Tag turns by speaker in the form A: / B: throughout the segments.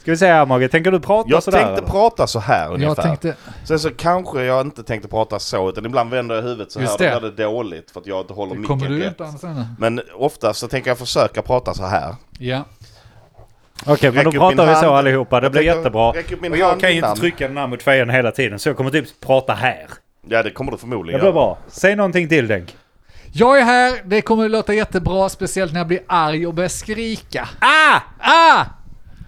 A: Ska vi säga Mogge, tänker du prata
B: Jag
A: sådär?
B: tänkte
A: eller?
B: prata så här
C: Alltså, Jag
B: ungefär.
C: tänkte,
B: Sen så kanske jag inte tänkte prata så, utan ibland vänder jag huvudet så här.
C: Just
B: Då
C: det.
B: blir det dåligt för att jag inte håller
C: det kommer
B: micken
C: du
B: rätt.
C: inte annars än.
B: Men oftast så tänker jag försöka prata så här.
C: Ja.
A: Okej, men då
B: Räck upp
A: pratar
B: min
A: vi så
B: hand.
A: allihopa. Det
B: Jag
A: blir
B: tänker-
A: jättebra.
B: räck upp min
A: Och jag
B: hand
A: kan ju inte
B: innan.
A: trycka den här mot fejan hela tiden, så jag kommer typ prata här.
B: Ja, det kommer du förmodligen
A: Det blir bra. Säg någonting till Denk.
C: Jag är här, det kommer att låta jättebra, speciellt när jag blir arg och börjar skrika.
A: Ah!
C: Ah!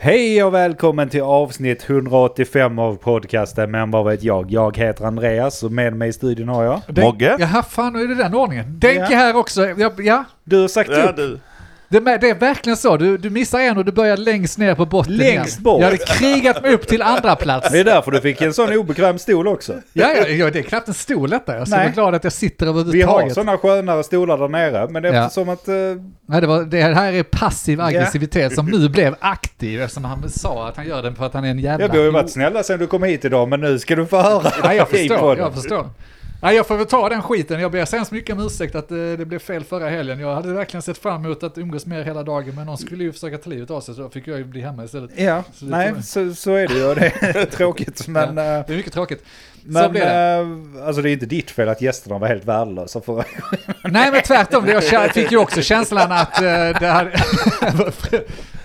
A: Hej och välkommen till avsnitt 185 av podcasten Men vad vet jag? Jag heter Andreas och med mig i studion har jag...
C: Den-
B: Mogge?
C: Jaha, fan, nu är det den ordningen. Denke
A: Ja.
C: här också. Ja, ja.
A: Du har sagt
B: Ja,
A: upp.
B: du.
C: Det, är med, det är verkligen så. Du, du missar en och du börjar längst ner på botten
A: Längst
C: igen.
A: bort?
C: Jag hade krigat mig upp till andra plats.
A: Det är därför du fick en sån obekväm stol också.
C: Ja, ja, ja, det är knappt en stol detta. Jag är så
A: Nej.
C: glad att jag sitter
A: Vi har
C: överhuvudtaget.
A: såna skönare stolar där nere, men
C: Ja.
A: eftersom att... eh,
C: Nej, det, var, det här är passiv aggressivitet som nu blev aktiv eftersom han sa att han gör den för att han är en jävla...
A: Ja, vi har ju varit snälla sen du kom hit idag, men nu ska du få höra.
C: Nej, jag
A: i
C: förstår.
A: podden.
C: Jag förstår. Nej, jag får väl ta den skiten. Jag ber så hemskt mycket om ursäkt att eh, det blev fel förra helgen. Jag hade verkligen sett fram emot att umgås med er hela dagen, men någon skulle ju försöka ta livet av sig, så då fick jag ju bli hemma istället.
A: Ja,
C: Så det får
A: nej,
C: man-
A: så, så är det ju. Det är tråkigt, men... eh,
C: Det är mycket tråkigt. så
A: Men
C: blev det.
A: eh, alltså det är inte ditt fel att gästerna var helt värdelösa för
C: Nej, men tvärtom. Det jag kä- fick ju också känslan att eh, det hade...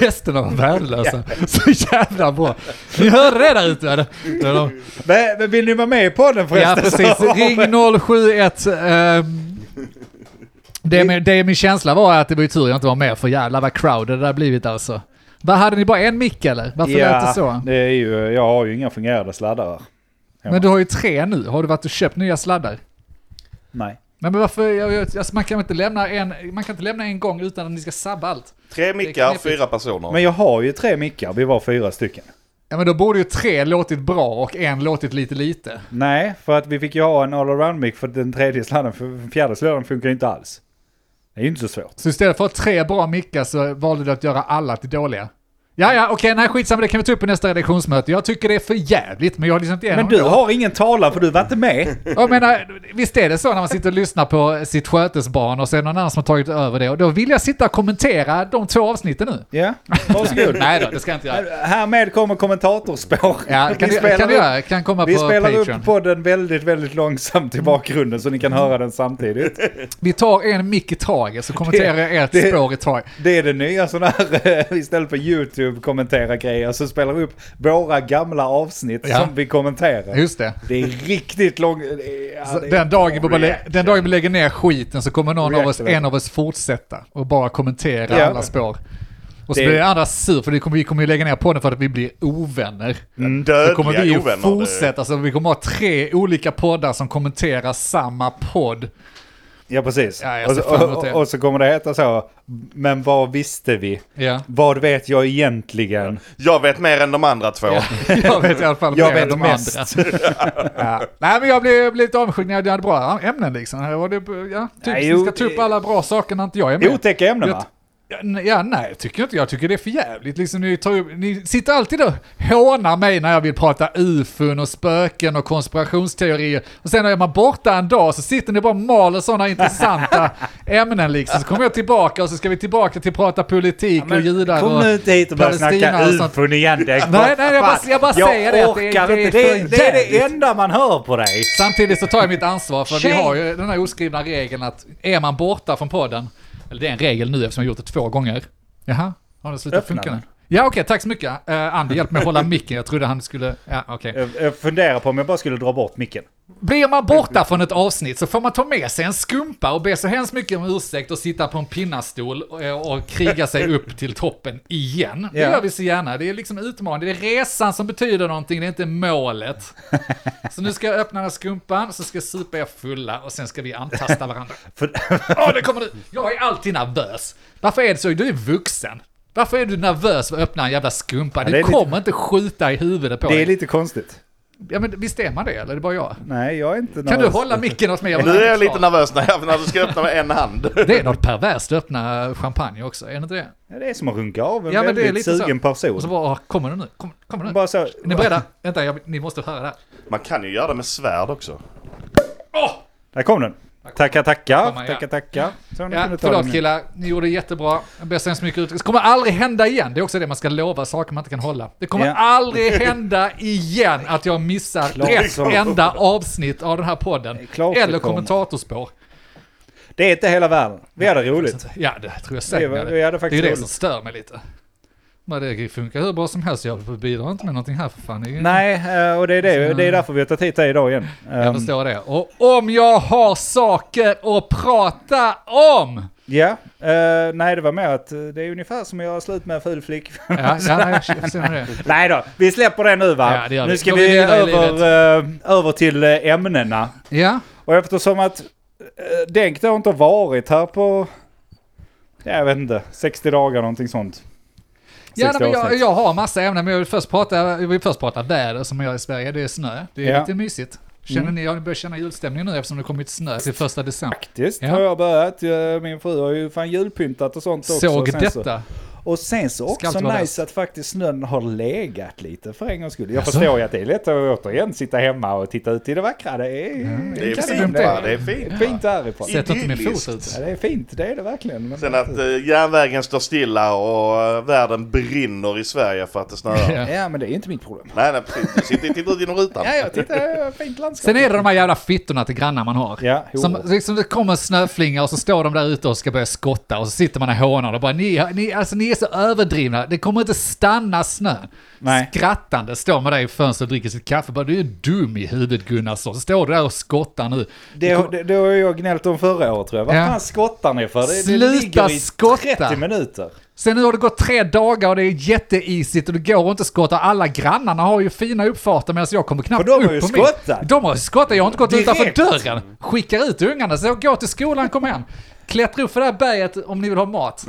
C: Gästerna var värdelösa. Så jävla bra. Ni hörde det där ute, eller? När de-
A: men, men vill ni vara med i podden
C: Ja,
A: förresten?
C: precis. Ring 071. ehm, det, med, det min känsla var att det var ju tur jag inte var med, för jävlar vad crowded det där blivit alltså. Vad hade ni bara en mick eller? Varför lät det
A: ja,
C: så?
A: det är ju, jag har ju inga fungerande sladdar. hemma.
C: Men du har ju tre nu, har du varit och köpt nya sladdar?
A: Nej.
C: Nej men varför, jag, jag, alltså man kan väl inte lämna en, man kan inte lämna en gång utan att ni ska sabba allt.
B: Tre
C: Det är
B: mickar,
C: knepigt.
B: fyra personer.
A: Men jag har ju tre mickar, vi var fyra stycken.
C: Ja men då borde ju tre låtit bra och en låtit lite lite.
A: Nej, för att vi fick ju ha en all-around-mick för den tredje sladden, för den fjärde sladden funkar ju inte alls. Det är ju inte så svårt.
C: Så istället för att ha tre bra mickar så valde du att göra alla till dåliga. Ja, ja, okej, nej skitsamma, det kan vi ta upp i nästa redaktionsmöte. Jag tycker det är för jävligt, men jag har liksom lyssnat igenom
A: Men du
C: det.
A: har ingen talan för du var inte med.
C: Jag menar, visst är det så när man sitter och lyssnar på sitt skötesbarn och sen någon annan som har tagit över det. Och då vill jag sitta och kommentera de två avsnitten nu.
A: Ja, varsågod.
C: Nej då, det ska jag inte göra.
A: Härmed kommer kommentatorspår.
C: Ja, det kan,
A: Vi
C: du,
A: spelar
C: kan du
A: upp-
C: göra. Kan komma
A: Vi
C: på
A: spelar
C: Patreon.
A: upp podden väldigt, väldigt långsamt i bakgrunden så ni kan höra den samtidigt.
C: Vi tar en mick i taget så kommenterar jag ett
A: det-
C: spår i taget.
A: Det är det nya sån här, eh, istället för YouTube kommentera grejer så spelar vi upp våra gamla avsnitt
C: Ja.
A: som vi kommenterar.
C: Just det.
A: Det är riktigt lång... det är- ja,
C: Så
A: det är-
C: Den dagen, vi bara lä- den dagen vi lägger ner skiten så kommer någon av oss,
A: Reactivate.
C: en av oss fortsätta och bara kommentera
A: Ja.
C: alla spår. Och så
A: Det-
C: blir den andra sur för vi kommer, vi kommer ju lägga ner på den för att vi blir ovänner.
A: Mm.
B: Dödliga
C: Då Mm. kommer vi ju
B: ovänner, du.
C: fortsätta, så vi kommer ha tre olika poddar som kommenterar samma podd.
A: Ja, precis.
C: Ja, jag
A: och,
C: ser
A: så,
C: fram emot
A: och,
C: det.
A: och så kommer det heta så, men vad visste vi?
C: Ja,
A: Vad vet jag egentligen?
B: Jag vet mer än de andra två.
C: jag vet i alla fall
A: Jag
C: mer än
A: vet mest.
C: andra. ja. Nej, men jag blev, jag blev lite avundsjuk när jag hade bra ämnen liksom. Här var det- Ja, typ,
A: Nej, jo,
C: ni ska ta upp
A: det-
C: alla bra saker när inte jag är med.
A: Otäcka ämnen va?
C: Ja, n- Ja, nej, jag tycker inte. Jag tycker det är för jävligt. Liksom, ni, tar, ju- ni sitter alltid och hånar mig när jag vill prata ufon och spöken och konspirationsteorier. Och sen när man är borta en dag så sitter ni bara och maler sådana intressanta ämnen liksom. Så kommer jag tillbaka och så ska vi tillbaka till att prata politik och judar
A: Kom
C: och...
A: nu inte hit och börja
C: Palestina
A: snacka
C: och sånt.
A: ufon igen Dick.
C: Nej, nej, jag bara, jag bara säger det.
A: Jag
C: att
A: orkar
C: det,
A: inte. Det är, det är det
C: jävligt.
A: enda man hör på dig.
C: Samtidigt så tar jag mitt ansvar för vi
A: Tjej!
C: har ju den här oskrivna regeln att är man borta från podden, eller det är en regel nu eftersom jag gjort det två gånger. Jaha, har det slutat
A: Öppna
C: funka nu?
A: den.
C: Ja okej, tack så mycket. Uh, Andy hjälp mig att hålla micken, jag trodde han skulle... Ja, okej.
A: Jag, jag funderar på om jag bara skulle dra bort micken.
C: Blir man borta från ett avsnitt så får man ta med sig en skumpa och be så hemskt mycket om ursäkt och sitta på en pinnastol och, och kriga sig upp till toppen igen. Det
A: Ja.
C: gör vi så gärna. Det är liksom utmaning. Det är resan som betyder någonting, det är inte målet. Så nu ska jag öppna den här skumpan, så ska jag supa er fulla och sen ska vi antasta varandra.
A: För,
C: Åh, det kommer du! Jag är alltid nervös. Varför är det så? Du är vuxen. Varför är du nervös för att öppna en jävla skumpa?
A: det
C: Du
A: är lite-
C: kommer inte skjuta i huvudet på
A: det
C: dig.
A: är lite konstigt.
C: Ja, men visst är man det, eller är det bara jag?
A: Nej, jag är inte
C: Kan du
A: nervös.
C: hålla micken åt mig?
B: Nu är jag lite nervös när, jag, när du ska öppna med en hand.
C: Det är något perverst att öppna champagne också, är det inte det?
A: Ja, Det är som att runka av en
C: Ja, men det är
A: väldigt
C: lite så.
A: sugen person.
C: Och så bara, kommer den nu? Kommer, kommer den nu?
A: Bara så...
C: Är ni beredda? Vänta, jag, ni måste höra det här.
B: Man kan ju göra det med svärd också.
A: Där kom den. Tacka,
C: Kom
A: tacka.
C: man, ja.
A: Tacka, tacka. Så nu kan du ta
C: Ja,
A: den
C: förlåt
A: nu.
C: killar, ni gjorde jättebra. Jag ber så hemskt mycket utrikes. Det kommer aldrig hända igen. Det är också det man ska lova, saker man inte kan hålla. Det kommer
A: Ja.
C: aldrig hända igen att jag missar
A: Klart
C: ett
A: som-
C: enda avsnitt av den här podden.
A: Klart det
C: Eller
A: kommer.
C: kommentatorspår.
A: Det är inte hela världen. Vi hade roligt.
C: Ja, det tror jag
A: Det
C: säkert.
A: var-
C: Det,
A: vi hade
C: det är ju
A: faktiskt
C: det
A: roligt.
C: som stör mig lite. Men det funkar hur bra som helst. Jag bidrar inte med någonting här för fan. Det är ju-
A: Nej, eh, och det är, det, det är därför vi har tagit hit dig idag igen.
C: Jag
A: Ehm,
C: förstår det. Och om jag har saker att prata om!
A: Ja, eh, nej det var med att eh, det är ungefär som att göra slut med en ful flick.
C: Ja, ja nej, jag förstår det.
A: nej då, vi släpper det nu va?
C: Ja, det gör vi.
A: nu ska
C: Går
A: vi,
C: vi vidare i
A: över, eh, över till eh, ämnena.
C: Ja,
A: Och eftersom att eh, Denk då inte har varit här på, ja, jag vet inte, 60 dagar någonting sånt.
C: ja
A: 60
C: nej, men jag,
A: avsnitt.
C: jag har massa ämnen, men jag vill först prata, jag vill först prata väder som jag gör i Sverige. Det är snö. Det är
A: Ja.
C: lite mysigt. Känner
A: Mm.
C: ni, jag börjar känna julstämning nu eftersom det kommit snö till första december.
A: Faktiskt
C: Ja.
A: har jag börjat. Eh, Min fru har ju fan julpyntat och sånt också.
C: Såg
A: Sen så-
C: detta?
A: Och sen så
C: Ska
A: också
C: inte vara
A: nice
C: bäst.
A: att faktiskt snön har legat lite för en gångs skull. Jag
C: Jaså?
A: förstår ju att det är lätt att återigen sitta hemma och titta ut i det vackra. Det är,
B: Det är
A: kanon.
B: fint
C: det.
B: va? Det är fint. va?
A: fint härifrån.
B: Ja.
C: Sätter inte min fot
B: Idylliskt.
C: ut.
A: Ja, det är fint, det är det verkligen. Men
B: Sen att eh, järnvägen står stilla och eh, världen brinner i Sverige för att det snöar.
C: Ja.
A: Ja, men det är inte mitt problem.
B: Nej, nej precis. Du sitter inte ut genom rutan.
A: Ja, jag tittar, fint landskap.
C: Sen är det de här jävla fittorna till grannar man har.
A: Ja, jo.
C: Som, liksom, det kommer en snöflinga och så står de där ute och ska börja skotta och så sitter man och hånar och bara ni, ni, alltså, ni är så överdrivna, det kommer inte stanna snö.
A: Nej.
C: Skrattande står man där i fönstret och dricker sitt kaffe bara du är dum i huvudet Gunnarsson, står du där och skottar nu.
A: Det, har- det, det har jag gnällt om förra året tror jag. Vad
C: Ja.
A: fan skottar ni för? Det,
C: Sluta
A: det ligger i
C: skotta.
A: 30 minuter.
C: Sen nu har det gått tre dagar och det är jätteisigt och det går inte att skotta. Alla grannarna har ju fina uppfarter medan jag kommer knappt
A: För de har
C: upp
A: ju
C: på min.
A: skottat.
C: De har ju skottat, jag har inte gått
A: Direkt.
C: utanför dörren. Skickar ut ungarna, så gå till skolan, kom hem. Klättra upp för det här berget om ni vill ha mat.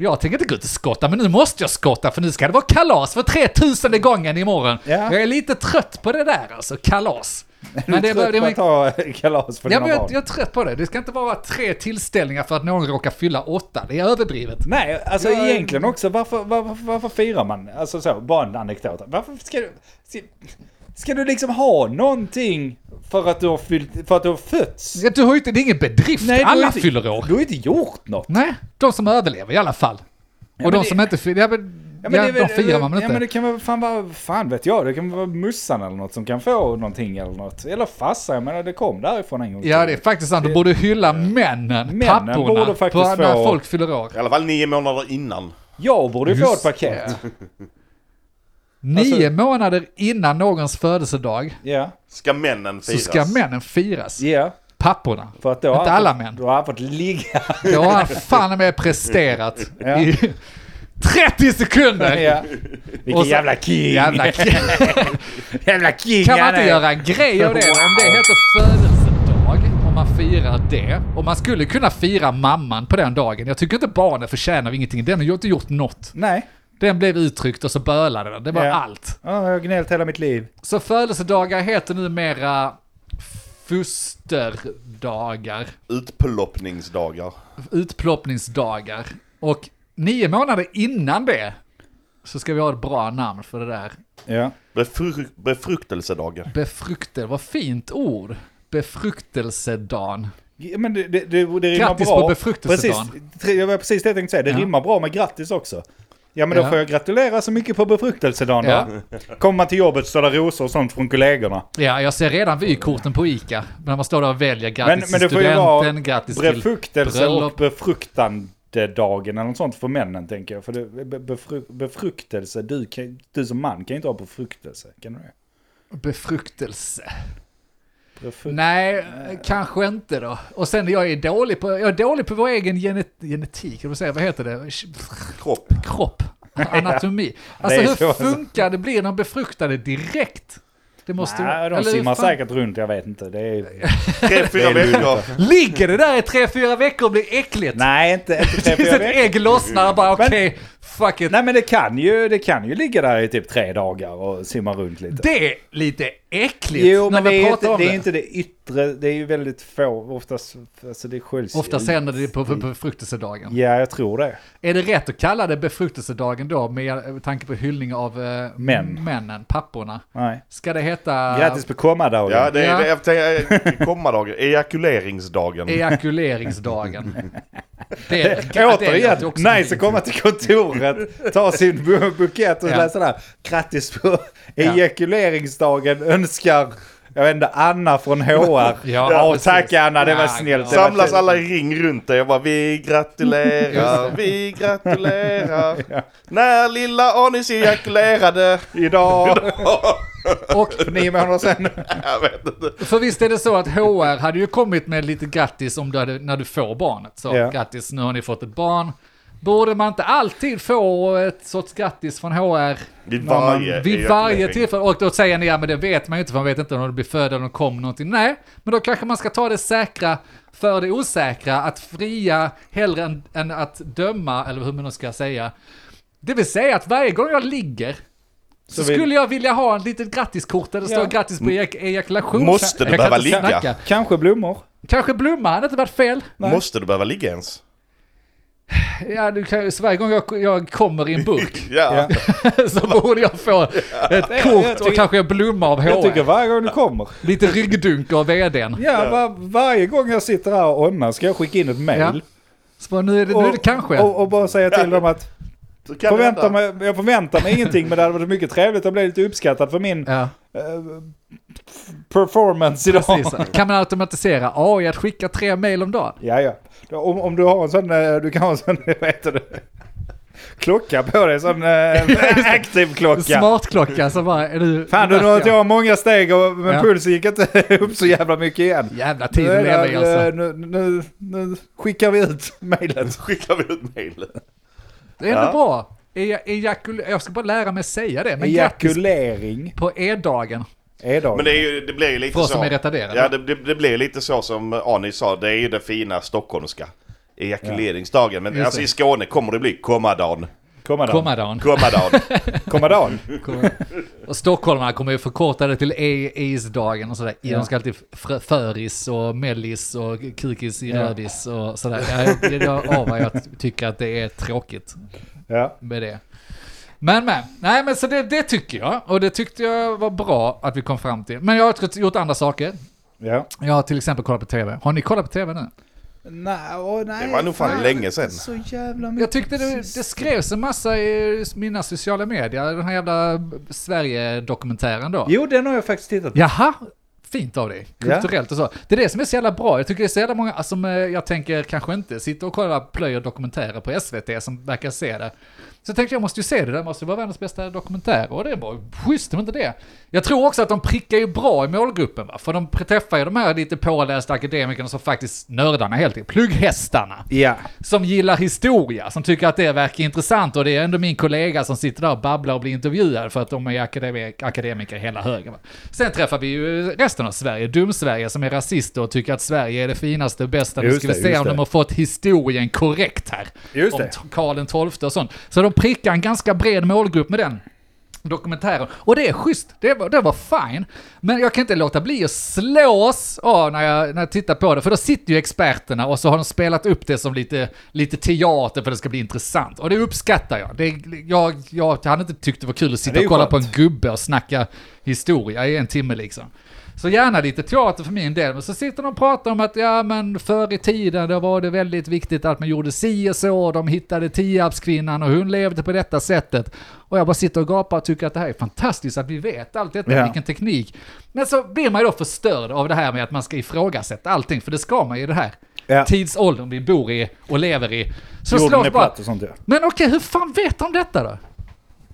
C: Jag tänker inte gå ut och skotta, men nu måste jag skotta för nu ska det vara kalas för 3000 gången imorgon.
A: Ja.
C: Jag är lite trött på det där alltså, kalas.
A: Men det,
C: bara-
A: är trött på att ta kalas för
C: Ja,
A: dina
C: men jag,
A: barn.
C: jag är trött på det. Det ska inte vara tre tillställningar för att någon råkar fylla åtta. Det är överdrivet.
A: Nej, alltså
C: Jag-
A: egentligen också, varför, varför, varför firar man? Alltså så, bara en anekdot. Varför ska du... Ska, ska du liksom ha någonting för att du har, fyllt, för att du har fötts?
C: Ja, Du har ju inte, det är ingen bedrift.
A: du har
C: Alla
A: inte-
C: fyller år.
A: Du har inte gjort något.
C: Nej, de som överlever i alla fall. och de
A: det-
C: som inte fyller, ja, men, ja,
A: det är väl-
C: de firar man väl
A: Ja
C: inte?
A: men det kan väl fan vara, fan vet jag, det kan vara mussan eller något som kan få någonting eller något. Eller farsa, jag menar det kom därifrån en gång
C: Ja, det är faktiskt sant. Du borde hylla männen, papporna,
A: borde faktiskt
C: på när
A: få- Alltså-
C: folk fyller år.
B: I alla fall nio månader innan.
A: Jag borde ju få ett
C: Just
A: paket.
C: Nio månader innan någons födelsedag
A: Ja,
B: Ska männen
C: så
B: firas.
C: ska männen firas.
A: ja.
C: Papporna.
A: För att då har
C: Inte
A: han
C: alla
A: fått-
C: män.
A: Då har han fått ligga.
C: Då har han fan med presterat
A: Ja.
C: i 30 sekunder!
A: Ja. Vilken
C: så-
A: jävla king!
C: Jävla
A: jävla king
C: Kan man
A: han
C: inte
A: är.
C: göra en grej av det? Om det heter födelsedag, om man firar det, och man skulle kunna fira mamman på den dagen. Jag tycker inte barnen förtjänar ingenting. Den har ju inte gjort något.
A: Nej.
C: Den blev uttryckt och så bölade den. Det var
A: Ja.
C: allt.
A: Ja, jag har gnällt hela mitt liv.
C: Så födelsedagar heter numera fosterdagar,
B: Utploppningsdagar.
C: utploppningsdagar. Och nio månader innan det så ska vi ha ett bra namn för det där.
A: Ja.
B: Befru- befruktelsedagar.
C: Befruktel, vad fint ord. Befruktelsedagen.
A: Men det, det, det, det rimmar
C: Grattis
A: bra.
C: på befruktelsedagen.
A: Precis, tre- det var precis det jag tänkte säga. Det
C: Ja.
A: rimmar bra med grattis också. Ja men då
C: Ja.
A: får jag gratulera så mycket på befruktelsedagen
C: Ja.
A: då. Kommer man till jobbet står det rosor och sånt från kollegorna.
C: Ja, jag ser redan vykorten på ICA. När man står där och väljer
A: Men,
C: grattis
A: men det
C: till
A: får ju vara
C: studenten, grattis till...
A: befuktelse och
C: bröllop.
A: befruktandedagen eller något sånt för männen tänker jag. För det, be, befru, befruktelse, du, kan, du som man kan ju inte ha befruktelse. Kan du det?
C: Befruktelse.
A: Befru-
C: Nej, kanske inte då. Och sen jag är dålig på, jag är dålig på vår egen genet, genetik, eller vad säger jag, vad heter det?
B: Kropp.
C: Kropp. Anatomi. Alltså
A: Det är
C: hur
A: så, alltså.
C: funkar det? Blir de befruktade direkt? Det måste
A: Nej, de
C: eller hur
A: simmar
C: fan-
A: säkert runt, jag vet inte. Det är...
B: Tre, fyra
A: Det är lugnt.
B: veckor.
C: Ligger det där i tre, fyra veckor och blir äckligt?
A: Nej, inte, inte tre,
C: Tills
A: fyra
C: ett
A: veckor.
C: ägg lossnar och bara
A: Men-
C: okej, fuck it.
A: Nej men det kan, ju, det kan ju ligga där i typ tre dagar och simma runt lite.
C: Det är lite äckligt
A: Jo,
C: när
A: men det
C: vi
A: är,
C: pratar
A: inte,
C: om
A: det
C: det.
A: är inte det yttre. Det är ju väldigt få. Oftast, alltså det sköljs ju
C: Oftast
A: ut.
C: händer det på på befruktelsedagen.
A: Ja, jag tror det.
C: Är det rätt att kalla det befruktelsedagen då med tanke på hyllning av eh,
A: Män.
C: männen, papporna?
A: Nej.
C: Ska det heta
A: Grattis på kommadagen.
B: Ja, det är
C: Ja.
B: det. Jag tänkte, kommadagen. Ejakuleringsdagen.
C: ejakuleringsdagen? det, är- det är något
A: Återigen,
C: också.
A: nice att komma till kontoret, ta sin bu- bukett och
C: Ja.
A: läsa där. Grattis på
C: Ja.
A: ejakuleringsdagen önskar, jag vet inte, Anna från HR.
C: Ja,
A: Ja,
C: precis.
A: tack Anna, det var
C: Ja,
A: snällt. Det var
B: Samlas
A: fint.
B: alla i ring runt dig och bara vi gratulerar, vi gratulerar. När lilla Anis ejakulerade idag.
C: Och
A: För nio månader sedan.
B: Jag vet inte.
C: För visst är det så att HR hade ju kommit med lite grattis om du hade, när du får barnet. Så
A: Ja.
C: grattis, nu har ni fått ett barn. Borde man inte alltid få ett sorts grattis från HR
B: Vid
C: vid varje
B: ejakulering.
C: tillfälle? Och då säger ni, ja men det vet man ju inte för man vet inte om de blir födda eller om de kommer någonting. Nej, men då kanske man ska ta det säkra för det osäkra. Att fria hellre än, än att döma, eller hur man nu ska säga. Det vill säga att varje gång jag ligger så,
A: Så vill-
C: skulle jag vilja ha en litet grattiskort där det
A: Ja.
C: står grattis på ejak- ejakulation.
B: Måste det
C: Jag kan
B: behöva
C: inte
B: ligga?
C: snacka.
A: Kanske blommor.
C: Kanske blomma hade inte varit fel.
B: Måste du behöva ligga ens?
C: Ja, du kan, så varje gång jag, jag kommer i en burk
B: Ja.
C: så borde jag få ett
A: jag
C: kort
A: tycker-
C: och kanske en blomma av
A: Jag tycker
C: HR.
A: varje gång du kommer.
C: Lite ryggdunk av vdn.
A: Ja, var, varje gång jag sitter här och ånnar ska jag skicka in ett mail.
C: Ja. Så bara, nu är det, nu är det kanske.
A: Och, och bara säga till dem att
B: Så kan det
A: förvänta
B: hända.
A: mig, jag förväntar mig ingenting men det hade varit mycket trevligt att bli lite uppskattad för min
C: ja,
A: eh, performance idag.
C: precis. Kan man automatisera AI att skicka tre mejl om dagen?
A: Ja, ja. Om, om du har en sån, eh, du kan ha en sån, vad heter det? Klocka på dig, sån eh, aktiv klocka.
C: Smartklocka som bara, är du...
A: Fan du, nu har inte jag många steg och, men
C: Ja.
A: pulsen gick inte upp så jävla mycket igen.
C: Jävla
A: Nu,
C: tid
A: är
C: lever
A: det,
C: i alltså.
A: eh, nu, nu, nu skickar vi ut mejlet.
B: Skickar vi ut mejl.
C: Det är ändå
B: Ja.
C: bra. Eja- ejakul- Jag ska bara lära mig säga det. Men grattis
A: Ejakulering
C: på E-dagen.
A: är dagen.
B: Men det, är ju, det blir ju lite
C: För oss
B: så.
C: som är retarderade.
B: Ja, det, det, det blir lite så som Anis sa. Det är ju det fina stockholmska. Ejakuleringsdagen. Men
C: Just
B: alltså
C: det.
B: i Skåne kommer det bli kommadagen.
A: Komma dagen.
C: Kommadagen.
B: Kommadagen.
A: Komma dagen.
C: Kommer- Och stockholmarna kommer ju förkorta det till E- EIS-dagen och sådär.
A: Ja.
C: De ska alltid frö- föris och mellis och kukis i
A: Ja.
C: rödis och sådär. Jag, det är av vad jag tycker att det är tråkigt
A: Ja.
C: med det. Men men, nej men så det, det tycker jag. Och det tyckte jag var bra att vi kom fram till. Men jag har också gjort andra saker.
A: Ja.
C: Jag har till exempel kollat på TV. Har ni kollat på TV nu?
A: Nej, åh, nej,
B: Det var nog fan länge sedan.
A: Så jävla mycket.
C: Jag tyckte det, det skrevs en massa i mina sociala medier. Den här jävla Sverige-dokumentären då.
A: Jo, den har jag faktiskt tittat på.
C: Jaha, fint av dig.
A: Ja.
C: Kulturellt och så. Det är det som är så jävla bra. Jag tycker det är så jävla många som eh, jag tänker kanske inte sitter och kollar plöjer dokumentärer på SVT som verkar se det. Så jag tänkte jag måste ju se det, det måste ju vara världens bästa dokumentär. Och det var schysst, det var inte det. Jag tror också att de prickar ju bra i målgruppen va. För de träffar ju de här lite pålästa akademikerna som faktiskt, nördarna helt enkelt, plugghästarna
A: Ja.
C: som gillar historia, som tycker att det verkar intressant och det är ändå min kollega som sitter där och babblar och blir intervjuad för att de är akademi- akademiker hela högen. va. Sen träffar vi ju resten av Sverige, dum-Sverige som är rasister och tycker att Sverige är det finaste och bästa. Nu
A: Just
C: ska vi
A: det,
C: se
A: just
C: om
A: det.
C: de har fått historien korrekt här.
A: Just
C: om
A: det.
C: t- Karl XII och sånt. Så de prickar en ganska bred målgrupp med den dokumentären. Och det är schysst, det var, det var fine. Men jag kan inte låta bli att slås av när jag, när jag tittar på det, för då sitter ju experterna och så har de spelat upp det som lite, lite teater för att det ska bli intressant. Och det uppskattar jag. Det, jag, jag hade inte tyckt det var kul att
A: det
C: sitta
A: är
C: och
A: ju
C: kolla på en
A: skönt.
C: gubbe och snacka historia i en timme liksom. Så gärna lite teater för min del, men så sitter de och pratar om att ja men förr i tiden då var det väldigt viktigt att man gjorde si och så, och de hittade Tierpskvinnan och hon levde på detta sättet. Och jag bara sitter och gapar och tycker att det här är fantastiskt att vi vet allt detta,
A: Ja.
C: vilken teknik. Men så blir man ju då förstörd av det här med att man ska ifrågasätta allting, för det ska man ju i det här
A: Ja.
C: tidsåldern vi bor i och lever i. Så
A: Jorden
C: slås
A: är
C: bara,
A: platt och sånt ja.
C: men okej, hur fan vet de detta då?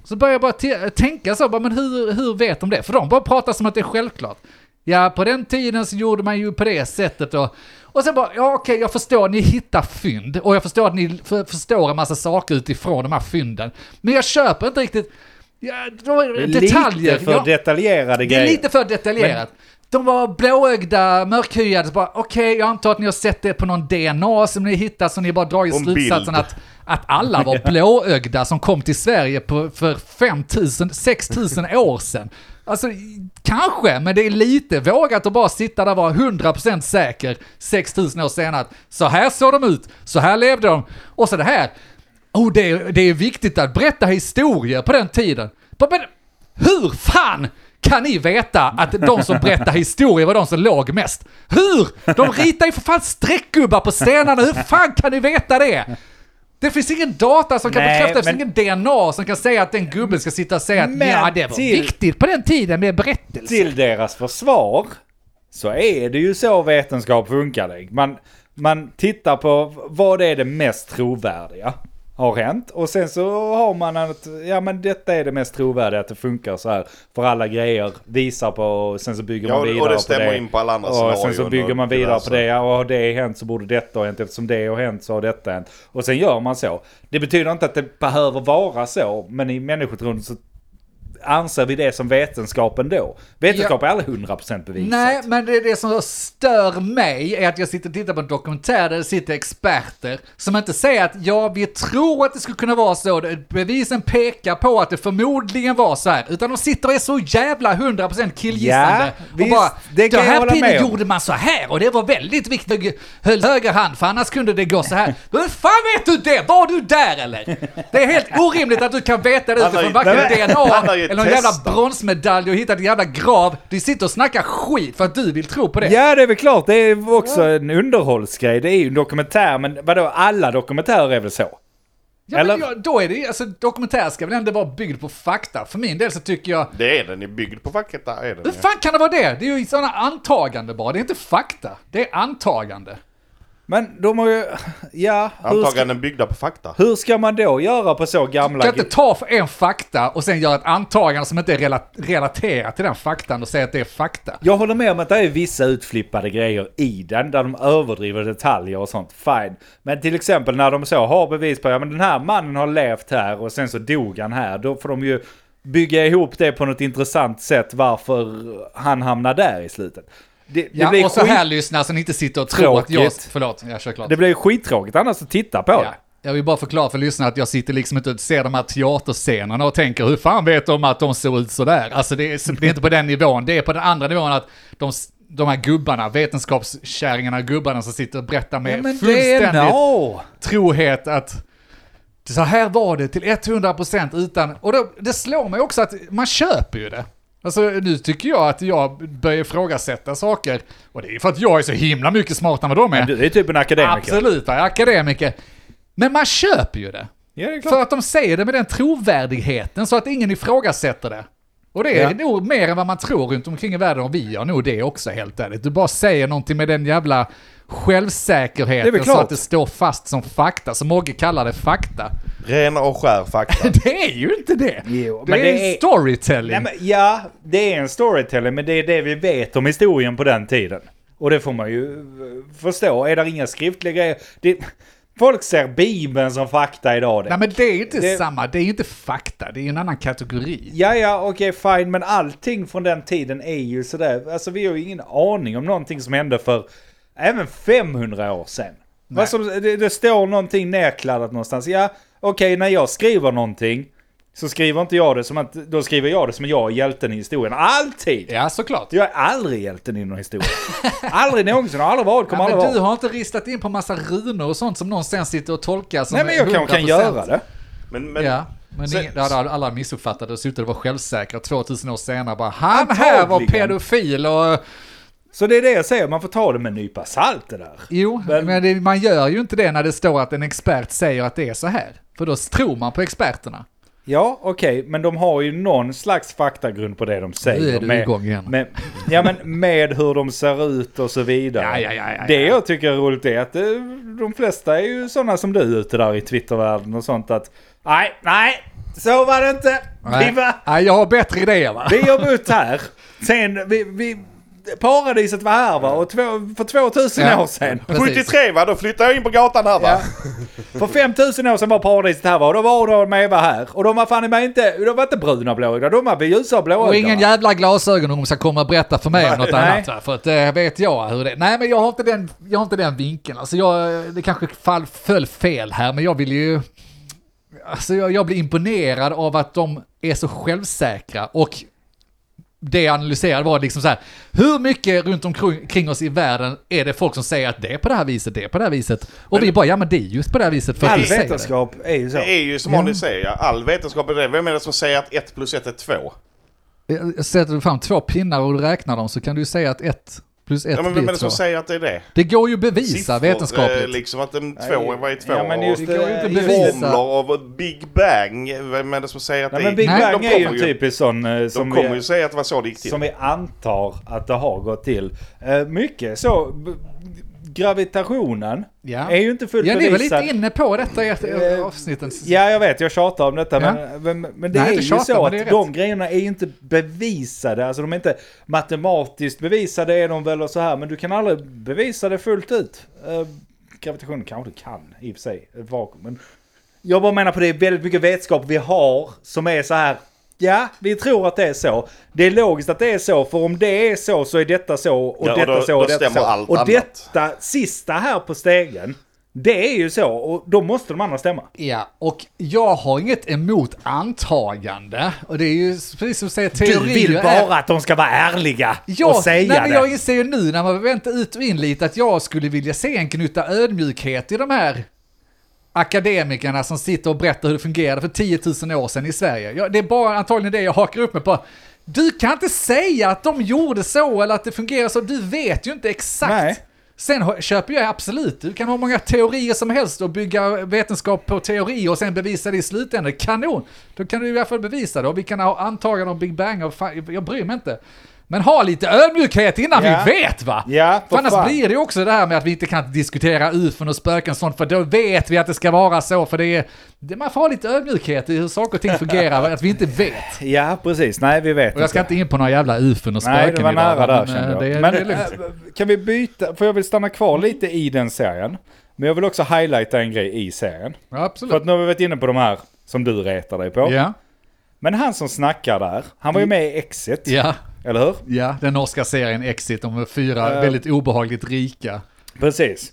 C: Så börjar jag bara te- tänka så, bara, men hur, hur vet de det? För de bara pratar som att det är självklart. Ja, på den tiden så gjorde man ju på det sättet och... Och sen bara, ja okej, jag förstår, ni hittar fynd och jag förstår att ni för, förstår en massa saker utifrån de här fynden. Men jag köper inte riktigt... Ja, de- detaljer.
A: Lite för
C: ja,
A: detaljerade
C: det är
A: grejer.
C: lite för detaljerat. De var blåögda, mörkhyade, så bara okej, jag antar att ni har sett det på någon DNA som ni hittat, så ni bara dragit
B: Och en
C: slutsatsen
B: bild.
C: att, att alla var blåögda som kom till Sverige på, för 5000, 6000 år sedan. Alltså, kanske, men det är lite vågat att bara sitta där och vara 100% säker 6000 år senare. att Så här såg de ut, så här levde de, och så det här. Oh, det, är, det är viktigt att berätta historier på den tiden. Bara, Men hur fan kan ni veta att de som berättade historier var de som låg mest? Hur? De ritar ju för fan streckgubbar på stenarna, hur fan kan ni veta det? Det finns ingen data som kan
A: Nej,
C: bekräfta, det
A: men-
C: finns ingen DNA som kan säga att den gubben ska sitta och säga att
A: Men
C: ja, det var
A: till-
C: viktigt på den tiden med berättelser.
A: Till deras försvar så är det ju så vetenskap funkar. Link. Man, man tittar på vad är det mest trovärdiga har hänt och sen så har man att ja men detta är det mest trovärdiga att det funkar så här för alla grejer visar på och sen så bygger
B: Ja,
A: man
B: och- och
A: vidare på
B: det
A: det.
B: stämmer in på alla andra
A: Och sen så
B: scenarion
A: bygger
B: och
A: man vidare
B: diverse.
A: på det, ja och har det hänt så borde detta ha hänt eftersom det har hänt så har detta hänt. Och sen gör man så. Det betyder inte att det behöver vara så men i människotron så anser vi det som vetenskapen då? Vetenskap är aldrig 100% bevisat.
C: Nej, men det, är det som stör mig är att jag sitter och tittar på en dokumentär där det sitter experter som inte säger att ja, vi tror att det skulle kunna vara så, bevisen pekar på att det förmodligen var så här, utan de sitter och är så jävla 100% killgissande.
A: Ja,
C: och
A: visst,
C: bara,
A: det kan
C: den
A: jag
C: här
A: hålla med
C: tiden
A: om."
C: gjorde man så här och det var väldigt viktigt, höll höger hand för annars kunde det gå så här. Hur fan vet du det? Var du där eller? Det är helt orimligt att du kan veta det
B: Han har ju-
C: utifrån varken
B: Nej, men- han
C: DNA
B: har ju
C: eller någon jävla
B: testat.
C: bronsmedalj och hittat en jävla grav. Du sitter och snackar skit för att du vill tro på det.
A: Ja, det är väl klart. Det är också en underhållsgrej. Det är ju en dokumentär, men vadå, alla dokumentärer är väl så?
C: Ja, men
A: eller-
C: jag, då är det ju- alltså dokumentär ska väl ändå vara byggd på fakta. För min del så tycker jag,
B: Det är den, den är byggd på facket där är den.
C: hur
B: ja.
C: fan kan det vara det? Det är ju sådana antagande bara, det är inte fakta. Det är antagande.
A: Men de har ju... Ja, hur ska,
B: Antaganden byggda på fakta.
A: hur ska man då göra på så gamla...
C: Du kan inte ta för en fakta och sen göra ett antagande som inte är rela- relaterat till den faktan och säga att det är fakta.
A: Jag håller med om att det är vissa utflippade grejer i den, där de överdriver detaljer och sånt. Fine. Men till exempel när de så har bevis på, ja men den här mannen har levt här och sen så dog han här. Då får de ju bygga ihop det på något intressant sätt varför han hamnar där i slutet. Det, det
C: Ja,
A: blir
C: och så här
A: skit-
C: lyssnar så ni inte sitter och tror att jag...
A: Tråkigt.
C: Förlåt, jag kör klart.
A: det blir skittråkigt annars att titta på
C: Ja. Jag vill bara förklara för lyssnarna att jag sitter liksom inte och ser de här teaterscenerna och tänker hur fan vet de att de såg ut sådär? Alltså det är, så- det är inte på den nivån, det är på den andra nivån att de, s- de här gubbarna, vetenskapskärringarna och gubbarna som sitter och berättar
A: det.
C: med
A: Ja, men det
C: fullständigt
A: är no.
C: trohet att så här var det till 100% utan... Och då, det slår mig också att man köper ju det. Alltså nu tycker jag att jag börjar ifrågasätta saker. Och det är ju för att jag är så himla mycket smartare än vad de är.
A: Du är typ en akademiker.
C: Absolut, jag är akademiker. Men man köper ju det.
A: Ja, det är klart.
C: För att de säger det med den trovärdigheten så att ingen ifrågasätter det. Och det är
A: Ja.
C: nog mer än vad man tror runt omkring i världen och vi gör nog det också helt ärligt. Du bara säger någonting med den jävla
A: Det är
C: självsäkerheten
A: väl
C: så
A: klart.
C: att det står fast som fakta, som Mogge kallar det fakta.
B: Ren och skär fakta.
C: Det är ju inte det!
A: Jo,
C: det,
A: men
C: är
A: det är-
C: storytelling.
A: Nej, men, ja, det är en storytelling, men det är det vi vet om historien på den tiden. Och det får man ju eh, förstå. Är det inga skriftliga grejer? Det, folk ser Bibeln som fakta idag.
C: Nej
A: Det.
C: men det är ju inte
A: Det-
C: samma, det är ju inte fakta, det är ju en annan kategori.
A: Ja, ja, okej, fine, men allting från den tiden är ju sådär. Alltså, vi har ju ingen aning om någonting som hände för även 500 år sedan. Vad som, det, det står någonting nerkladdat någonstans. Ja, okej, när jag skriver någonting så skriver inte jag det som att, då skriver jag det som jag är hjälten i historien. Alltid!
C: Ja, såklart.
A: Jag är aldrig hjälten i någon historia. aldrig någonsin, har aldrig varit, kommer
C: Ja, men
A: aldrig
C: du
A: vara.
C: har inte ristat in på massa runor och sånt som någon sen sitter och tolkar som
A: Nej men jag kanske kan
C: 100%.
A: göra det.
B: Men, men
C: ja, men
B: Sen-
C: ingen, det hade alla missuppfattat och slutade vara självsäkra 2000 år senare bara han här var
A: Antagligen.
C: pedofil och
A: Så det är det jag säger, man får ta det med en nypa salt det där.
C: jo, men,
A: Men-
C: det, man gör ju inte det när det står att en expert säger att det är så här. För då tror man på experterna.
A: Ja, okej, men de har ju någon slags faktagrund på det de säger.
C: Nu är du igång igen.
A: Med, ja, men med hur de ser ut och så vidare.
C: Ja, ja, ja, ja,
A: det
C: ja.
A: jag tycker är roligt är att eh, de flesta är ju sådana som du ute där i Twittervärlden och sånt att nej, nej, så var det inte. Vi var
C: Nej, jag har bättre idéer va?
A: Vi har bott här. Sen, vi, vi, paradiset var här va? Och två, för 2000
C: Ja.
A: år sedan.
C: Precis.
B: 73 va, då flyttade jag in på gatan här va?
A: Ja. För 5000 år sedan var paradiset här va? Och då var de Eva här. Och de var fan i mig inte, de var inte bruna och blåögda, de var ljusa och blåögda.
C: Och ingen
A: va?
C: jävla glasögon om de ska komma och berätta för mig om något
A: Nej.
C: annat. här, För att det vet jag hur det är. Nej men jag har inte den, jag har inte den vinkeln. Alltså jag, det kanske fall, föll fel här men jag vill ju... Alltså jag, jag blir imponerad av att de är så självsäkra och det jag analyserade var liksom så här, hur mycket runt omkring kring oss i världen är det folk som säger att det är på det här viset, det är på det här viset. Och vi bara, ja men det är just på det här viset för att
A: All
C: vi säger det.
A: vetenskap är ju så.
B: Det är ju som Ronny säger, ja, all vetenskap är det. Vem är det som säger att 1 plus 1 är 2?
C: Jag- Eh, Sätter du fram två pinnar och du räknar dem så kan du ju säga att ett plus ett
B: Ja, men vem är
C: blir
B: det som
C: två.
B: säger att det är det?
C: Det går ju att bevisa
B: eh,
C: vetenskapligt.
B: liksom att en 2 vad är 2?
A: Ja, men just, eh,
C: Det går ju inte att
A: just-
C: bevisa.
B: Formler av Big Bang, vem är det som säger att
A: Nej
B: det
A: men Big
C: Nej,
A: Bang
B: de
A: är ju
B: kommer
A: en
B: ju-
A: typisk sån eh,
B: De
A: som
B: kommer
A: vi,
B: ju säga att det var så det gick till.
A: som vi antar att det har gått till. Eh, Mycket så, b- gravitationen
C: Ja.
A: är ju inte fullt
C: Ja, ni var lite
A: bevisad.
C: inne på detta i ett
A: Eh,
C: avsnitten.
A: Ja, jag vet, jag tjatar om detta,
C: Ja.
A: men, men, men det
C: Nej,
A: är
C: inte
A: ju
C: tjata,
A: så
C: men
A: att
C: det är
A: de
C: rätt.
A: grejerna är ju inte bevisade. Alltså de är inte matematiskt bevisade är de väl och så här, men du kan aldrig bevisa det fullt ut. Uh, gravitation kanske du kan i och för sig, ett vakuum. Men jag bara menar på det är väldigt mycket vetskap vi har som är så här, ja, vi tror att det är så. Det är logiskt att det är så, för om det är så så är detta så och
B: Ja, och
A: detta
B: då-
A: så och
B: då
A: detta
B: stämmer
A: så.
B: allt
A: och
B: annat.
A: detta sista här på stegen, det är ju så och då måste de andra stämma.
C: Ja, och jag har inget emot antagande. Och det är ju precis som du säger,
A: Du
C: teorier
A: vill
C: är...
A: bara att de ska vara ärliga
C: Ja,
A: och säga
C: nej, men
A: det.
C: jag inser ju nu när man väntar ut och in lite att jag skulle vilja se en knutta ödmjukhet i de här akademikerna som sitter och berättar hur det fungerade för 10 000 år sedan i Sverige. Ja, det är bara antagligen det jag hakar upp mig på. Du kan inte säga att de gjorde så eller att det fungerar så, du vet ju inte exakt.
A: Nej.
C: Sen har- köper jag absolut, du kan ha många teorier som helst och bygga vetenskap på teorier och sen bevisa det i slutändan. Kanon! Då kan du i alla fall bevisa det och vi kan ha antaganden om Big Bang och fan, jag bryr mig inte. Men ha lite ödmjukhet innan
A: Ja.
C: vi vet va?
A: Ja,
C: för
A: för
C: annars
A: fan.
C: blir det ju också det här med att vi inte kan diskutera ufon och spöken och sånt för då vet vi att det ska vara så för det är... Det, man får ha lite ödmjukhet i hur saker och ting fungerar, att vi inte vet.
A: Ja, precis. Nej, vi vet
C: Och jag ska inte in på några jävla ufon och spöken
A: Nej, det var
C: idag,
A: nära där
C: men, eh,
A: kände jag.
C: Det,
A: men
C: det är lugnt.
A: äh, kan vi byta? För jag vill stanna kvar lite i den serien. Men jag vill också highlighta en grej i serien.
C: Ja,
A: För att
C: absolut.
A: nu har vi varit inne på de här som du retar dig på.
C: Ja, Mm.
A: Men han som snackar där, han var ju med i Exit.
C: ja.
A: Eller hur?
C: Ja, den norska serien Exit om fyra
A: Eh.
C: väldigt obehagligt rika.
A: Precis.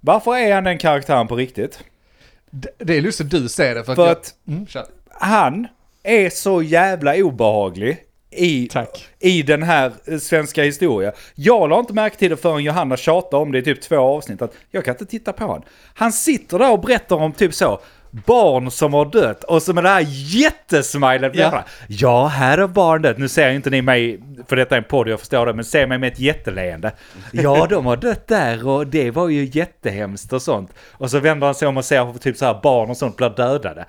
A: Varför är han den karaktären på riktigt?
C: D- Det är lustigt du säger det. För,
A: För
C: jag-
A: att-
C: Mm, kör.
A: han är så jävla obehaglig i,
C: Tack.
A: i den här eh, svenska historien. Jag la inte märke till det förrän Johanna tjatade om det i typ två avsnitt. Att jag kan inte titta på honom. Han sitter där och berättar om typ så. Barn som har dött och så med det här jättesmilet. Ja. ja, här är barn dött. Nu ser inte ni mig, för detta är en podd, jag förstår det, men se mig med ett jätteleende. Ja, de har dött där och det var ju jättehemskt och sånt. Och så vänder han sig om och ser hur typ så här barn och sånt blir dödade.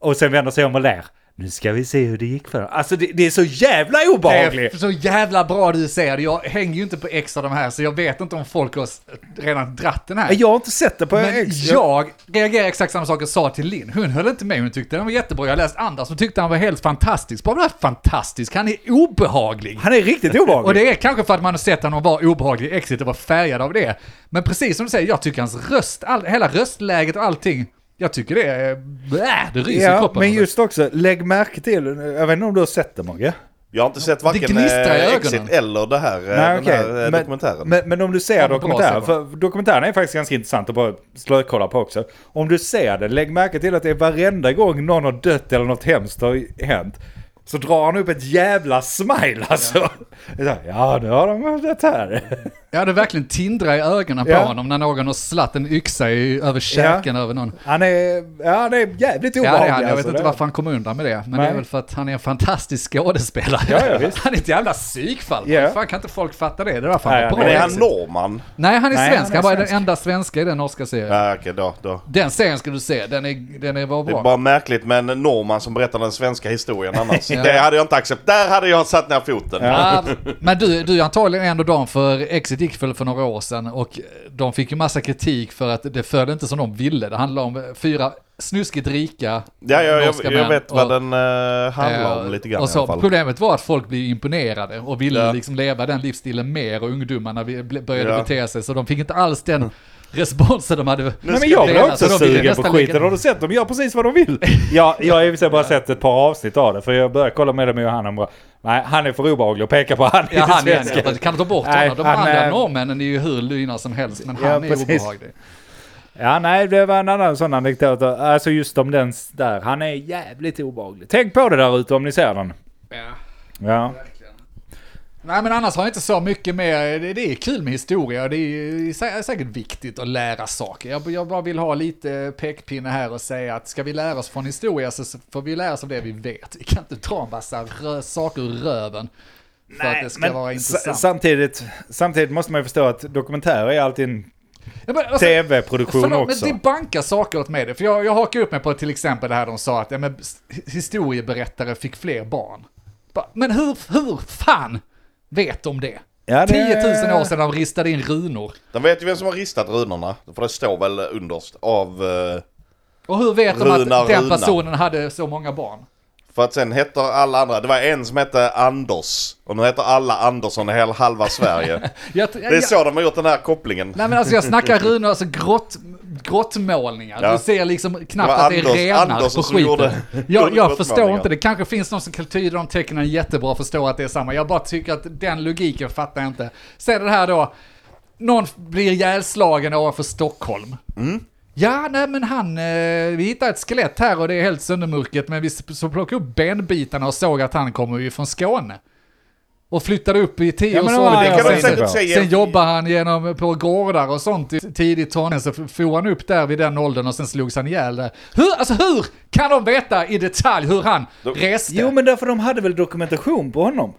A: Och sen vänder sig om och ler. Nu ska vi se hur det gick för dem. Alltså det, det är så jävla
C: Det
A: obehagligt.
C: är så jävla bra du säger det. Jag hänger ju inte på X av de här, så jag vet inte om folk har s- redan dratt den här.
A: Jag har inte sett det på
C: Men
A: X.
C: jag reagerar exakt samma sak jag sa till Linn. Hon höll inte med, hon tyckte den var jättebra. Jag har läst andra som tyckte han var helt fantastisk. Bara fantastisk, han är obehaglig.
A: Han är riktigt obehaglig.
C: Och det är kanske för att man har sett honom vara obehaglig i Exit och var färgad av det. Men precis som du säger, jag tycker hans röst, all, hela röstläget och allting, jag tycker det är... Bäh, det ryser i
A: Ja,
C: kroppen.
A: men just också, lägg märke till, jag vet inte om du har sett det Mogge?
B: Jag har inte sett varken
C: gnistrar i
B: eh,
C: ögonen.
B: Exit eller det här, eh, den
A: okej.
B: här eh,
A: men,
B: dokumentären.
A: Men, men om du ser
C: Ja, bra
A: dokumentären,
C: sätt.
A: för dokumentären är faktiskt ganska intressant att bara slökolla på också. Om du ser det, lägg märke till att det är varenda gång någon har dött eller något hemskt har hänt. Så drar han upp ett jävla smile alltså. Det är så här, Ja, nu har de det här.
C: Ja, det verkligen tindrar i ögonen på
A: Ja.
C: honom när någon har slatt en yxa i, över käken över någon.
A: Han är, ja, han är jävligt
C: Ja,
A: obehaglig.
C: det är han. Jag vet
A: alltså.
C: inte
A: Det-
C: varför han kom undan med det. Men det
A: Nej.
C: är väl för att han är en fantastisk skådespelare.
A: Ja, ja, visst.
C: han är ett jävla psykfall.
A: Ja.
C: Fan, kan inte folk fatta det? Det var
A: Nej,
C: fan bra.
B: Men är han
A: Exit.
B: norrman?
C: Nej, han är
A: Nej,
C: svensk.
A: han är
C: Han var den
A: svensk.
C: enda svenska i den norska serien.
B: Ja, okej, då, då.
C: Den serien ska du se. Den är, den är var
B: Det
C: bra.
B: är bara märkligt med en norrman som berättar den svenska historien annars.
C: Ja.
B: Det hade jag inte accepterat. Där hade jag satt ner foten.
C: Ja, men du, du är antagligen ändå dam för Exit gick väl för några år sedan och de fick ju massa kritik för att det föll inte som de ville. Det handlar om fyra snuskigt rika
B: Ja, jag,
C: norska
B: jag, jag
C: män
B: vet vad
C: och-
B: den eh, handlar
C: Eh,
B: om lite grann
C: och
B: i
C: så,
B: alla fall.
C: Problemet var att folk blev imponerade och ville
B: Ja.
C: liksom leva den livsstilen mer och ungdomarna vi- ble- började
B: Ja.
C: bete sig så de fick inte alls den responsen de hade.
A: Nej men jag blir
C: Redan,
A: också
C: så de vill
A: sugen på
C: nästan
A: skiten.
C: lägga-
A: Har du sett? De gör precis vad de vill. Ja, jag har i och för sig bara sett ett par avsnitt av det. För jag började kolla med dem och han han bara, nej han är för obehaglig och pekar på han i
C: Ja,
A: det
C: han igen,
A: svenska.
C: ja. Kan du ta bort
A: Nej,
C: honom? De
A: han
C: andra
A: är-
C: norrmännen är ju hur lyna som helst, men
A: Ja,
C: han är
A: precis.
C: obehaglig.
A: Ja, nej, det var en annan sån anekdot. Alltså just om den s- där. Han är jävligt obehaglig. Tänk på det där ute om ni ser den. Ja.
C: Nej men annars har jag inte så mycket mer, det, det är kul med historia och det är sä- säkert viktigt att lära saker. Jag, jag bara vill ha lite pekpinne här och säga att ska vi lära oss från historia så så får vi lära oss av det vi vet. Vi kan inte dra en massa rö- saker ur röven för att det ska vara
A: sa-
C: intressant.
A: samtidigt, samtidigt måste man ju förstå att dokumentärer är alltid en
C: Ja, men alltså-
A: tv-produktion
C: Förlåt,
A: också.
C: men det bankar saker åt mig. det. För jag, jag hakar upp mig på till exempel det här de sa att ja, men, s- historieberättare fick fler barn. Ba- Men hur, hur fan vet de det?
A: Ja, det-
C: 10 000 år sedan de ristade in runor.
B: De vet ju vem som har ristat runorna, för det står väl underst av... eh,
C: Och hur vet de
B: Runa,
C: att den
B: runa.
C: personen hade så många barn?
B: För att sen heter alla andra, det var en som hette Anders, och nu heter alla Andersson i hela halva Sverige.
C: Jag,
B: Det är
C: jag,
B: så de har gjort den här kopplingen.
C: Nej men alltså jag snackar runor, alltså grott, grottmålningar.
B: Ja.
C: Du ser liksom knappt
B: Det var
C: att det är
B: Anders-
C: renar
B: Anders
C: på
B: som gjorde-
C: skiten. Jag, jag förstår
B: grottmålningar.
C: inte, det kanske finns någon som kan tyda de tecknen jättebra och förstå att det är samma. Jag bara tycker att den logiken fattar jag inte. Sen det här då, någon blir ihjälslagen ovanför Stockholm.
B: Mm.
C: Ja, nej men han, eh, vi hittade ett skelett här och det är helt söndermurket men vi s- så plockade upp benbitarna och såg att han kommer ju från Skåne. Och flyttade upp i
A: Ja, men det var-
B: Det
A: Ja,
B: kan
A: sen-
B: de säkert säga.
C: Sen jobbar han genom, på gårdar och sånt i tidigt tonåren, så for han upp där vid den åldern och sen slogs han ihjäl där. Hur, alltså hur kan de veta i detalj hur han reste?
A: Jo, men därför de hade väl dokumentation på honom.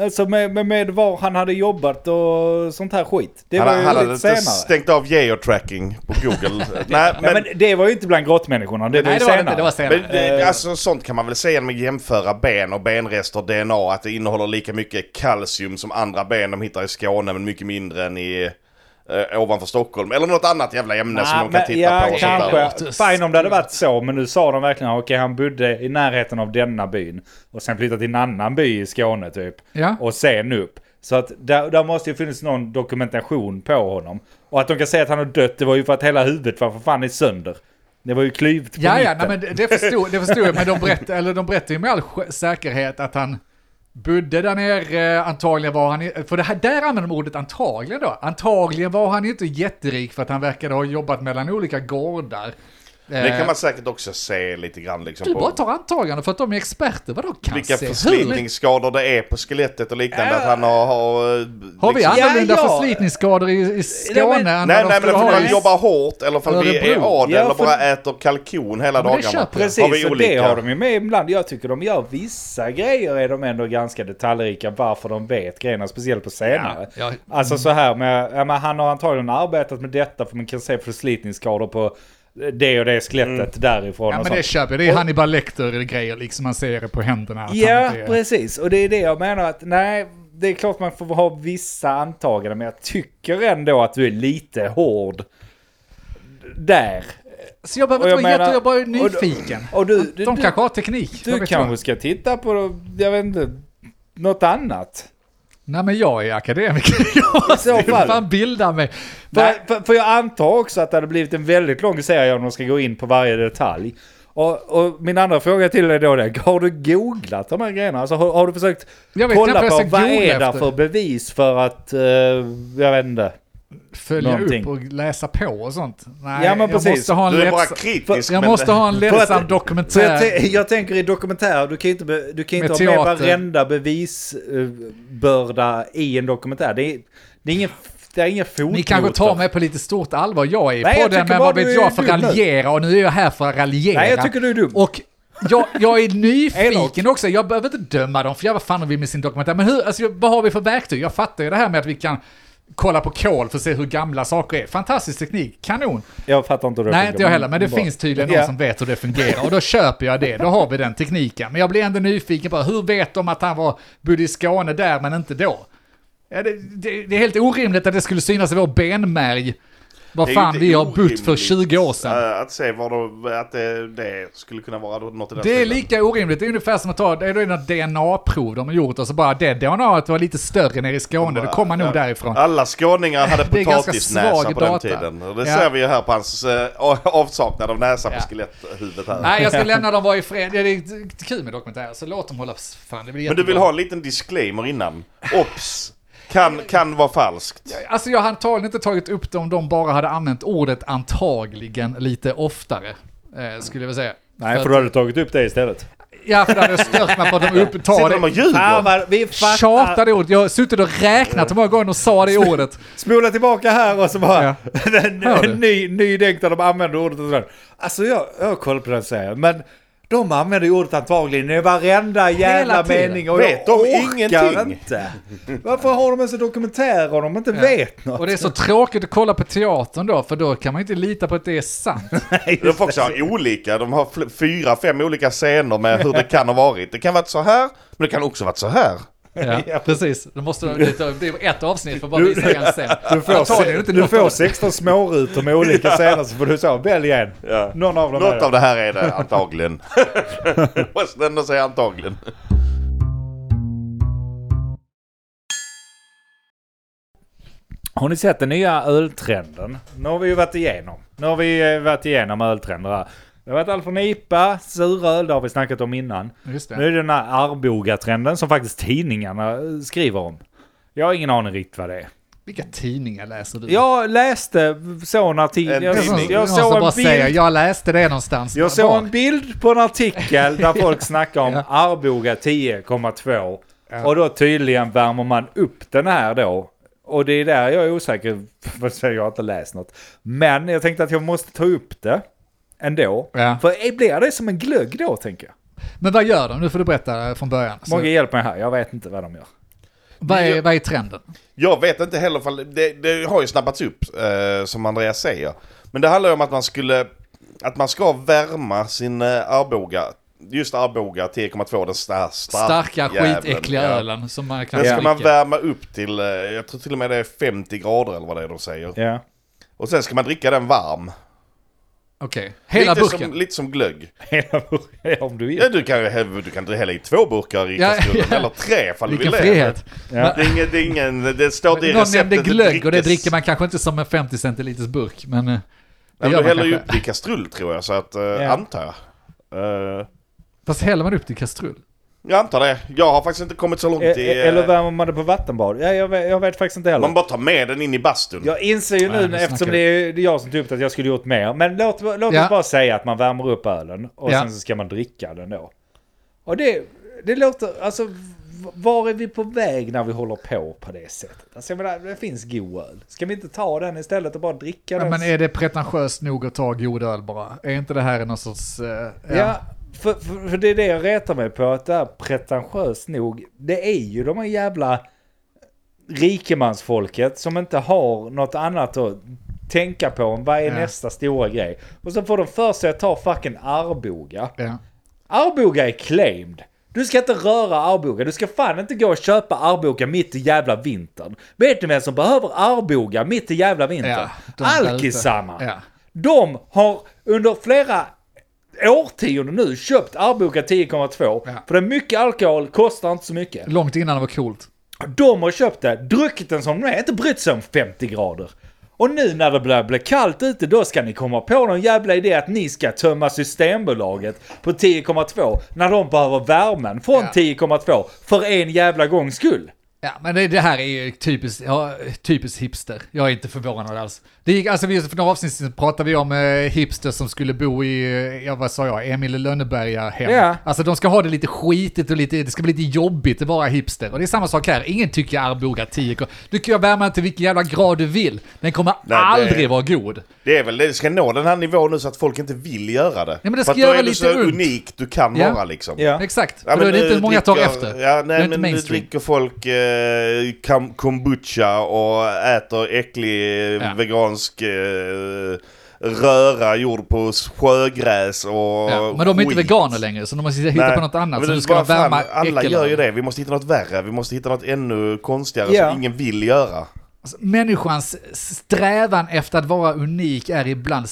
A: Alltså med, med, med var han hade jobbat och sånt här skit. Det
B: Han,
A: var ju
B: han hade
A: lite
B: inte
A: senare.
B: stängt av geotracking på Google. Nej,
A: Ja,
B: men,
A: men eh, det var ju inte bland grottmänniskorna, det var
C: Nej,
A: ju
C: det var det
A: senare.
C: inte, det var
B: men
C: senare.
B: det, alltså, sånt kan man väl säga med att jämföra ben och benrester, DNA, att det innehåller lika mycket kalcium som andra ben de hittar i Skåne, men mycket mindre än i eh, ovanför Stockholm. Eller något annat jävla ämne som de kan
A: men-
B: titta
A: ja,
B: på. Och sånt där.
A: kanske. Fine om det hade varit så, men nu sa de verkligen okej han bodde i närheten av denna byn. Och sen flyttat till en annan by i Skåne typ.
C: Ja.
A: Och sen upp. Så att där, där måste ju finnas någon dokumentation på honom. Och att de kan säga att han har dött, det var ju för att hela huvudet var för fan i sönder. Det var ju klyvt på
C: Ja, ja,
A: mitten.
C: nej, men det- det förstod, det förstod jag, men de berättade, eller de berättade ju med all sj- säkerhet att han bodde där nere, eh, antagligen var han, i- för det här, där använder de ordet antagligen då, antagligen var han ju inte jätterik för att han verkade ha jobbat mellan olika gårdar.
B: Det
C: Eh,
B: kan man säkert också se lite grann liksom,
C: Du
B: på
C: bara tar antagande för att de är experter, vad de kan
B: vilka
C: se.
B: förslitningsskador det är på skelettet och liknande. Att han har... har, eh,
C: Har vi
B: liksom-
C: annorlunda
A: Ja, ja.
C: förslitningsskador i, i Skåne?
A: Nej, men-
C: än vad
B: Nej, nej
C: de
B: men
C: skulle
B: om
C: ha
B: vi
C: i-
B: jobbar hårt eller ifall vi är
C: Örebro.
B: adel
A: Ja,
B: eller
A: för-
B: bara äter kalkon hela
C: men det
B: dagarna.
C: köper jag.
A: Precis,
B: Har vi
A: och
B: olika.
A: det har de ju med ibland. Jag tycker de gör vissa grejer är de ändå ganska detaljrika varför de vet grejerna, speciellt på senare.
C: Ja,
A: Alltså så här med, ja, men han har antagligen arbetat med detta för man kan se förslitningsskador på det och det skelettet
B: Mm.
A: därifrån.
C: Ja
A: och
C: men det
A: sånt.
C: köper jag, det är Hannibal Lecter-grejer liksom, man ser det på händerna. att han
A: Ja,
C: inte är-
A: precis. Och det är det jag menar att nej, det är klart man får ha vissa antaganden, men jag tycker ändå att du är lite hård där.
C: Så jag behöver
A: Och jag
C: inte vara jätte,
A: menar-
C: jag bara är
A: och du-
C: nyfiken.
A: Och du, du,
C: de
A: du,
C: kanske har teknik. vad
A: du
C: vet
A: kanske
C: jag.
A: ska titta på, jag vet inte, något annat.
C: Nej men jag är akademiker, jag
A: I så
C: måste
A: fall.
C: fan bilda mig. Nej,
A: För, för, för jag antar också att det hade blivit en väldigt lång serie om de ska gå in på varje detalj. Och, och min andra fråga till dig då är, har du googlat de här grejerna? Alltså, har, har du försökt
C: Jag vet
A: kolla
C: knappt
A: på
C: vad jag ska
A: vad
C: googla
A: är det
C: efter.
A: för bevis för att, eh, jag vet inte.
C: följa
A: någonting.
C: upp och läsa på och sånt. Nej,
A: Ja, men
C: jag
A: precis.
C: måste ha en
B: Du är bara
C: lätts-
B: kritisk.
C: Jag
B: men-
C: måste ha en
A: För att-
C: ledsam
A: Så jag,
C: dokumentär.
A: tän- jag tänker i dokumentär, du kan ju inte, be, du kan ju
C: Med
A: inte ha med
C: teater.
A: varenda bevisbörda i en dokumentär. Det är, det är ingen, det är ingen fotnot.
C: Ni kanske tar mig på lite stort allvar. Jag är i
A: Nej, jag
C: podden,
A: tycker
C: men
A: bara
C: vad
A: du
C: vet
A: är
C: jag för att
A: dum nu.
C: raljera och nu är jag här för att raljera.
A: Nej, jag tycker du är dum.
C: Och jag, jag är nyfiken
A: Elak.
C: också. Jag behöver inte döma dem, för jag vad fan har vi med sin dokumentär. Men hur, alltså, vad har vi för verktyg? Jag fattar ju det här med att vi kan kolla på kol för att se hur gamla saker är. Fantastisk teknik, kanon.
A: Jag fattar inte hur det
C: Nej,
A: funkar,
C: inte jag heller, men det
A: bra.
C: finns tydligen någon
A: Ja.
C: som vet hur det fungerar och då köper jag det. Då har vi den tekniken. Men jag blir ändå nyfiken på hur vet de att han var bodde i Skåne där men inte då? Ja, det, det, det är helt orimligt att det skulle synas i vår benmärg Vad
B: Det är ju
C: fan
B: inte
C: vi har bott för
B: orimligt,
C: 20 år sedan.
B: eh, Att se vad de, att det, det skulle kunna vara något i den
C: Det är
B: stilen.
C: lika orimligt. Det är ungefär som att ta, det är då något DNA-prov de har gjort och så bara det DNAet var lite större nere i Skåne, det kommer nog
B: Ja.
C: därifrån.
B: Alla skåningar hade
C: Det är ganska
B: potatisnäsa
C: svag
B: på den
C: data.
B: tiden. Och det
C: Ja.
B: ser vi ju här på hans eh, avsaknad av näsa på
C: Ja.
B: skeletthuvudet här.
C: Nej, jag ska lämna dem vara i fred. Det är kul med dokumentärer, så låt dem hålla... Fan, det blir
B: Men du vill
C: jättebra.
B: ha en liten disclaimer innan. Ops! Kan, kan vara falskt.
C: Alltså jag hade antagligen inte tagit upp det om de bara hade använt ordet antagligen lite oftare. Eh, skulle jag vilja säga.
A: Nej, för då hade du tagit upp det istället.
C: Ja, för det hade jag stört mig på att de upp, tar
B: Sitter de och
C: det.
A: Fan
B: ljuger?
A: vad, vi
C: Tjata
A: fattar.
C: det ordet. Jag har suttit och räknat hur många gånger de sa det ordet.
A: Spola tillbaka här och så bara...
C: Ja.
A: en,
C: Hör du?
A: en ny, ny dänk där de använder ordet och sådär. Alltså jag, jag har koll på den serien, men de använder ju ordet antagligen i varenda jävla
C: tiden.
A: mening och
B: Vet
A: jag
B: de
A: orkar
B: ingenting?
A: inte. Varför har de ens en dokumentär om de inte vet något?
C: Och det är så tråkigt att kolla på teatern då, för då kan man ju inte lita på att det är sant.
B: De får också ha olika, de har fl- fyra, fem olika scener med hur det kan ha varit. Det kan ha varit så här, men det kan också ha varit så här.
C: Ja, precis. Då måste de, det blir ett avsnitt för att bara visa en scen.
A: Du får,
C: Antagligen inte
A: du
C: något
A: får
C: av-
A: 16 smårutor med olika scener så får du så, välj en.
B: Ja.
A: Någon av dem är
B: Något
A: det.
B: av det här är det antagligen. Måste ändå säga antagligen.
A: Har ni sett den nya öltrenden? Nu har vi ju varit igenom. Nu har vi eh, varit igenom öltrender här. Det har varit allt från IPA, suröl, det har vi snackat om innan.
C: Just
A: Nu är
C: det.
A: det den här Arboga-trenden som faktiskt tidningarna eh, skriver om. Jag har ingen aning riktigt vad det är.
C: Vilka tidningar läser du?
A: Jag läste, såg en artikel,
B: En
A: jag,
C: Det är
B: tidning.
C: som-
A: jag
C: någon som
A: såg
C: bara
A: en
C: säger,
A: bild.
C: jag läste det någonstans.
A: Jag såg en bild på en artikel där folk snackar om Arboga 10,2. Och då tydligen värmer man upp den här då. Och det är där jag är osäker, för jag har inte läst något. Men jag tänkte att jag måste ta upp det ändå.
C: Ja.
A: För blir det som en glögg då tänker jag?
C: Men vad gör de? Nu får du berätta eh, från början. Så,
A: Många hjälper mig här, jag vet inte vad de gör.
C: vad, är, vad är trenden?
B: Jag vet inte heller ifall, det, det har ju snappats upp eh, som Andreas säger. Men det handlar ju om att man skulle, att man ska värma sin eh, Arboga, just Arboga 10,2, den star,
C: Starka,
B: jäveln,
C: skitäckliga
B: ja.
C: ölen som man knappt
B: Den ska man
C: dricker.
B: värma upp till, eh, jag tror till och med det är 50 grader eller vad det är de säger.
A: Ja.
B: Och sen ska man dricka den varm.
C: Okej, hela
B: lite
C: burken.
B: Som, lite som glögg.
A: Hela burken, om du vill.
B: Ja, du kan ju hä- du kan hälla i två burkar i
C: Ja,
B: kastrullen,
C: ja.
B: eller tre ifall du vill det.
C: Vilken frihet.
A: Ja.
B: Det är ingen, det, är ingen, det står inte i
C: Någon
B: receptet.
C: nämnde glögg och det
B: drickes-
C: dricker man kanske inte som en 50 centiliters burk, men... eh, Det
B: Nej, men
C: gör
B: du
C: man
B: häller ju
C: kanske.
B: upp det i kastrull tror jag, så att, eh, antar jag. Eh,
C: Fast häller man upp det i kastrull?
B: jag antar det. Jag har faktiskt inte kommit så långt
A: E-
B: i... eh,
A: Eller värmer man det på vattenbad? Ja, jag, vet, jag vet faktiskt inte heller.
B: man bara tar med den in i bastun.
A: Jag inser ju nu,
C: nu
A: eftersom
C: snackar
A: det
C: vi.
A: är det är jag som tog upp det, att jag skulle gjort mer. Men låt, låt
C: Ja.
A: oss bara säga att man värmer upp ölen och
C: Ja.
A: sen så ska man dricka den då. Och det, det låter, alltså v- var är vi på väg när vi håller på på det sättet? Alltså jag menar, det finns god öl. Ska vi inte ta den istället och bara dricka den?
C: Men är det pretentiöst nog att ta god öl bara? Är inte det här någon sorts... eh,
A: Ja, för, för, för det är det jag retar mig på, att det är pretentiöst nog. Det är ju de här jävla rikemansfolket som inte har något annat att tänka på än vad är
C: Ja.
A: nästa stora grej. Och så får de för sig att ta fucking Arboga.
C: ja.
A: Arboga är claimed. Du ska inte röra Arboga, du ska fan inte gå och köpa Arboga mitt i jävla vintern. Vet ni vem som behöver Arboga mitt i jävla vintern?
C: Ja, de där ute.
A: Alkisarna!
C: Ja.
A: De har under flera årtionden nu köpt Arboga 10,2.
C: Ja.
A: För det är mycket alkohol, kostar inte så mycket.
C: Långt innan det var coolt.
A: De har köpt det, druckit den som den är, inte brytt sig om 50 grader. Och nu när det börjar bli kallt ute, då ska ni komma på någon jävla idé att ni ska tömma Systembolaget på 10,2 när de behöver värmen från
C: Ja.
A: 10,2 för en jävla gångs skull.
C: Ja, men det, det här är ju typiskt, ja, typiskt hipster. Jag är inte förvånad alls. Det gick, alltså vi, för några avsnitt sedan pratade vi om eh, hipster som skulle bo i, eh, ja vad sa jag, Emil i Lönneberga hem.
A: Ja.
C: Alltså de ska ha det lite skitigt och lite, det ska bli lite jobbigt att vara hipster. Och det är samma sak här, ingen tycker Arboga 10 Du kan ju värma den till vilken jävla grad du vill. Den kommer
B: det-
C: aldrig vara god.
B: Det är väl det, ska nå den här nivån nu så att folk inte vill göra det.
C: men det
B: För
C: ska
B: att då
C: göra
B: är du
C: lite
B: så
C: ont.
B: unik du kan
C: Ja.
B: vara liksom.
A: Ja.
C: Exakt,
B: Ja,
C: för då är det inte
B: nu
C: många tar
B: dricker-
C: efter.
B: Ja,
C: Det är
B: nej,
C: inte
B: men nu
C: mainstream.
B: dricker folk eh, kam- kombucha och äter äcklig eh,
C: Ja.
B: vegansk eh, röra gjord på sjögräs och
C: Ja, men de är inte
B: skit.
C: veganer längre, så de måste hitta
B: Nej,
C: på något annat.
B: men
C: Så
B: det
C: nu
B: är
C: ska de
B: bara fan,
C: värma
B: Alla gör ju
C: äckelöl.
B: det. Vi måste hitta något värre. Vi måste hitta något ännu konstigare
A: Ja.
B: som ingen vill göra.
C: Alltså, Människans strävan efter att vara unik är ibland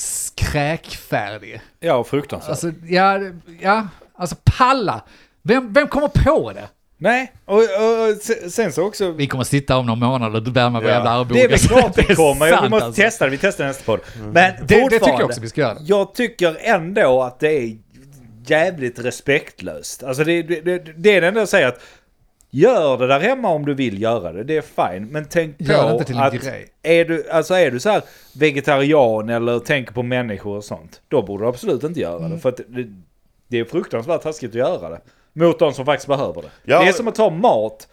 C: skräkfärdig.
A: Ja, fruktansvärt.
C: Alltså, ja, ja, alltså palla! Vem, vem kommer på det?
A: Nej, och, och, och se- sen så också...
C: Vi kommer sitta om några månader och värma vår
B: Ja.
C: jävla armbåge.
A: Det är väl klart
C: Det är
A: det kommer,
C: sant,
A: vi måste
C: alltså.
A: testa det, vi testar nästa podd. Men
C: Det, det
A: fortfarande,
C: tycker jag också vi ska göra.
A: jag tycker ändå att det är jävligt respektlöst. Alltså det, det, det, det är det enda jag säger att gör det där hemma om du vill göra det, det är fine. Men tänk på
C: Gör det inte till en
A: att
C: grej.
A: är du, alltså är du så här vegetarian eller tänker på människor och sånt, då borde du absolut inte göra
C: Mm.
A: det. För att det, det är fruktansvärt taskigt att göra det. Mot de som faktiskt behöver det.
B: Ja.
A: Det är som att ta mat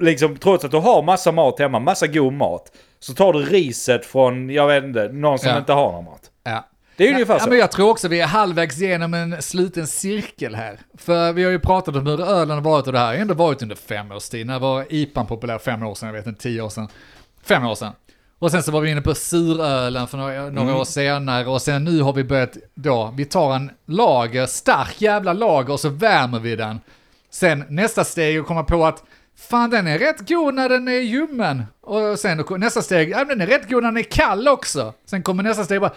A: liksom, trots att du har massa mat hemma, massa god mat, så tar du riset från, jag vet inte, någon som
C: Ja.
A: inte har någon mat.
C: Ja.
A: Det är ungefär
C: ja,
A: så.
C: men Jag tror också vi är halvvägs genom en sluten cirkel här. För vi har ju pratat om hur ölen har varit och det här har ju ändå varit under fem års tid. När var IPAn populär? Fem år sedan, jag vet inte, tio år sedan. Fem år sedan. Och sen så var vi inne på surölen för några, några
A: Mm.
C: år senare och sen nu har vi börjat då, vi tar en lager, stark jävla lager och så värmer vi den. Sen nästa steg och komma på att fan den är rätt god när den är ljummen. Och sen nästa steg, ja men den är rätt god när den är kall också. Sen kommer nästa steg bara,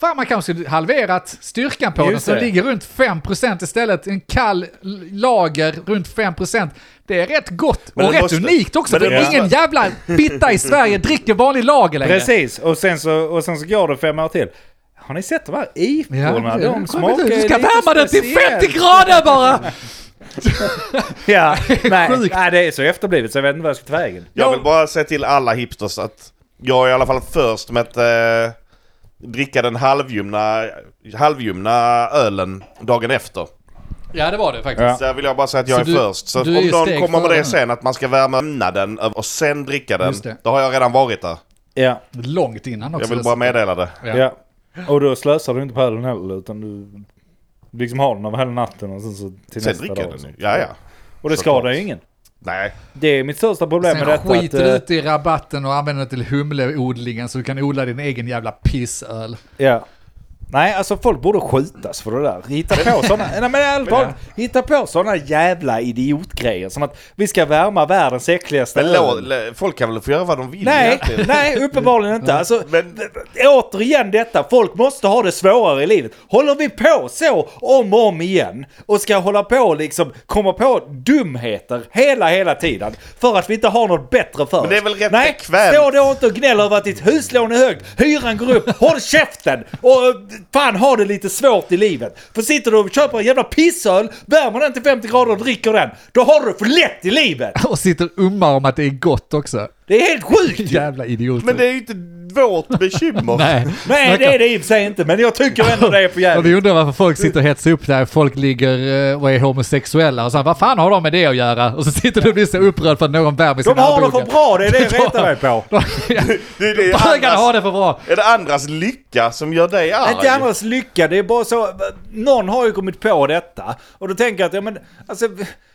C: fan man kanske skulle halverat styrkan på den
A: Just
C: så den
A: det.
C: ligger runt 5% istället. En kall l- lager runt 5%. Det är rätt gott
B: Men
C: och
B: det
C: rätt
B: måste-
C: unikt också.
B: men det
C: För
B: måste-
C: ingen jävla bitta i Sverige dricker vanlig lager längre.
A: Precis, och sen, så, och sen så går det fem år till. Har ni sett de här iporna? de smakar
C: Du ska
A: lite
C: värma den till
A: speciellt.
C: 50 grader bara!
A: Ja, nej,
C: Sjukt.
A: nej, det är så efterblivet så jag vet inte vad jag ska ta vägen.
B: Jag vill bara säga till alla hipsters att jag är i alla fall först med att eh, dricka den halvljumna, halvljumna ölen dagen efter.
C: Ja, det var det faktiskt.
A: Ja.
B: Så där vill jag bara säga att jag
C: Så
B: är
C: du-
B: först. Så
C: du
B: om
C: är
B: någon
C: steg
B: kommer med
C: före
B: det
C: den.
B: sen, att man ska värma den och sen dricka den.
C: Just det.
B: Då har jag redan varit där.
A: Ja,
C: Långt innan också.
B: Jag vill bara meddela det.
A: ja. Och då slösar du inte på ölen heller utan du liksom har den över hela natten och sen så till
B: Sen
A: nästa
B: dricker jag
A: dag. liksom.
B: den ju. Ja, ja.
A: Och det
B: Såklart.
A: skadar ju ingen.
B: Nej.
A: Det är mitt största problem med
C: Sen
A: detta. att,
C: skiter du
A: eh,
C: ut i rabatten och använder den till humleodlingen så du kan odla din egen jävla pissöl.
A: Ja. Nej, alltså folk borde skjutas för det där. Hitta på sådana, nej men ärligt talat, hitta på sådana jävla idiotgrejer som att vi ska värma världens äckligaste
B: Men lå,
A: öl.
B: lä- folk kan väl få göra vad de vill
A: Nej,
B: egentligen.
A: nej, uppenbarligen inte. Alltså,
B: Men-
A: återigen detta, folk måste ha det svårare i livet. Håller vi på så om och om igen och ska hålla på och liksom komma på dumheter hela, hela tiden för att vi inte har något bättre för oss.
B: det är väl rätt
A: Nej,
B: bekvämt.
A: stå då inte och gnäll över att ditt huslån är högt, hyran går upp, håll käften och eh, fan ha det lite svårt i livet. För sitter du och köper en jävla pissöl, värmer den till 50 grader och dricker den, då har du det för lätt i livet.
C: Och sitter och ummar om att det är gott också.
A: Det är helt sjukt ju.
C: Jävla idioter.
B: Men det är ju inte vårt bekymmer.
C: Nej,
A: Nej, det är det i och för sig inte, men jag tycker ändå det är för
C: Och vi
A: jävligt.
C: undrar varför folk sitter och hetsar upp där folk ligger eh, och är homosexuella och så här, vad fan har de med det att göra? Och så sitter du och blir så upprörd för att någon värmer sin
A: De har det för
C: armbåge.
A: bra, det är det jag retar mig på.
B: Det är, det
C: Bögarna har
B: andras,
C: det för bra!
B: är det andras lycka som gör dig arg?
A: Inte andras lycka, det är bara så. Någon har ju kommit på detta. Och då tänker jag att, ja men, alltså,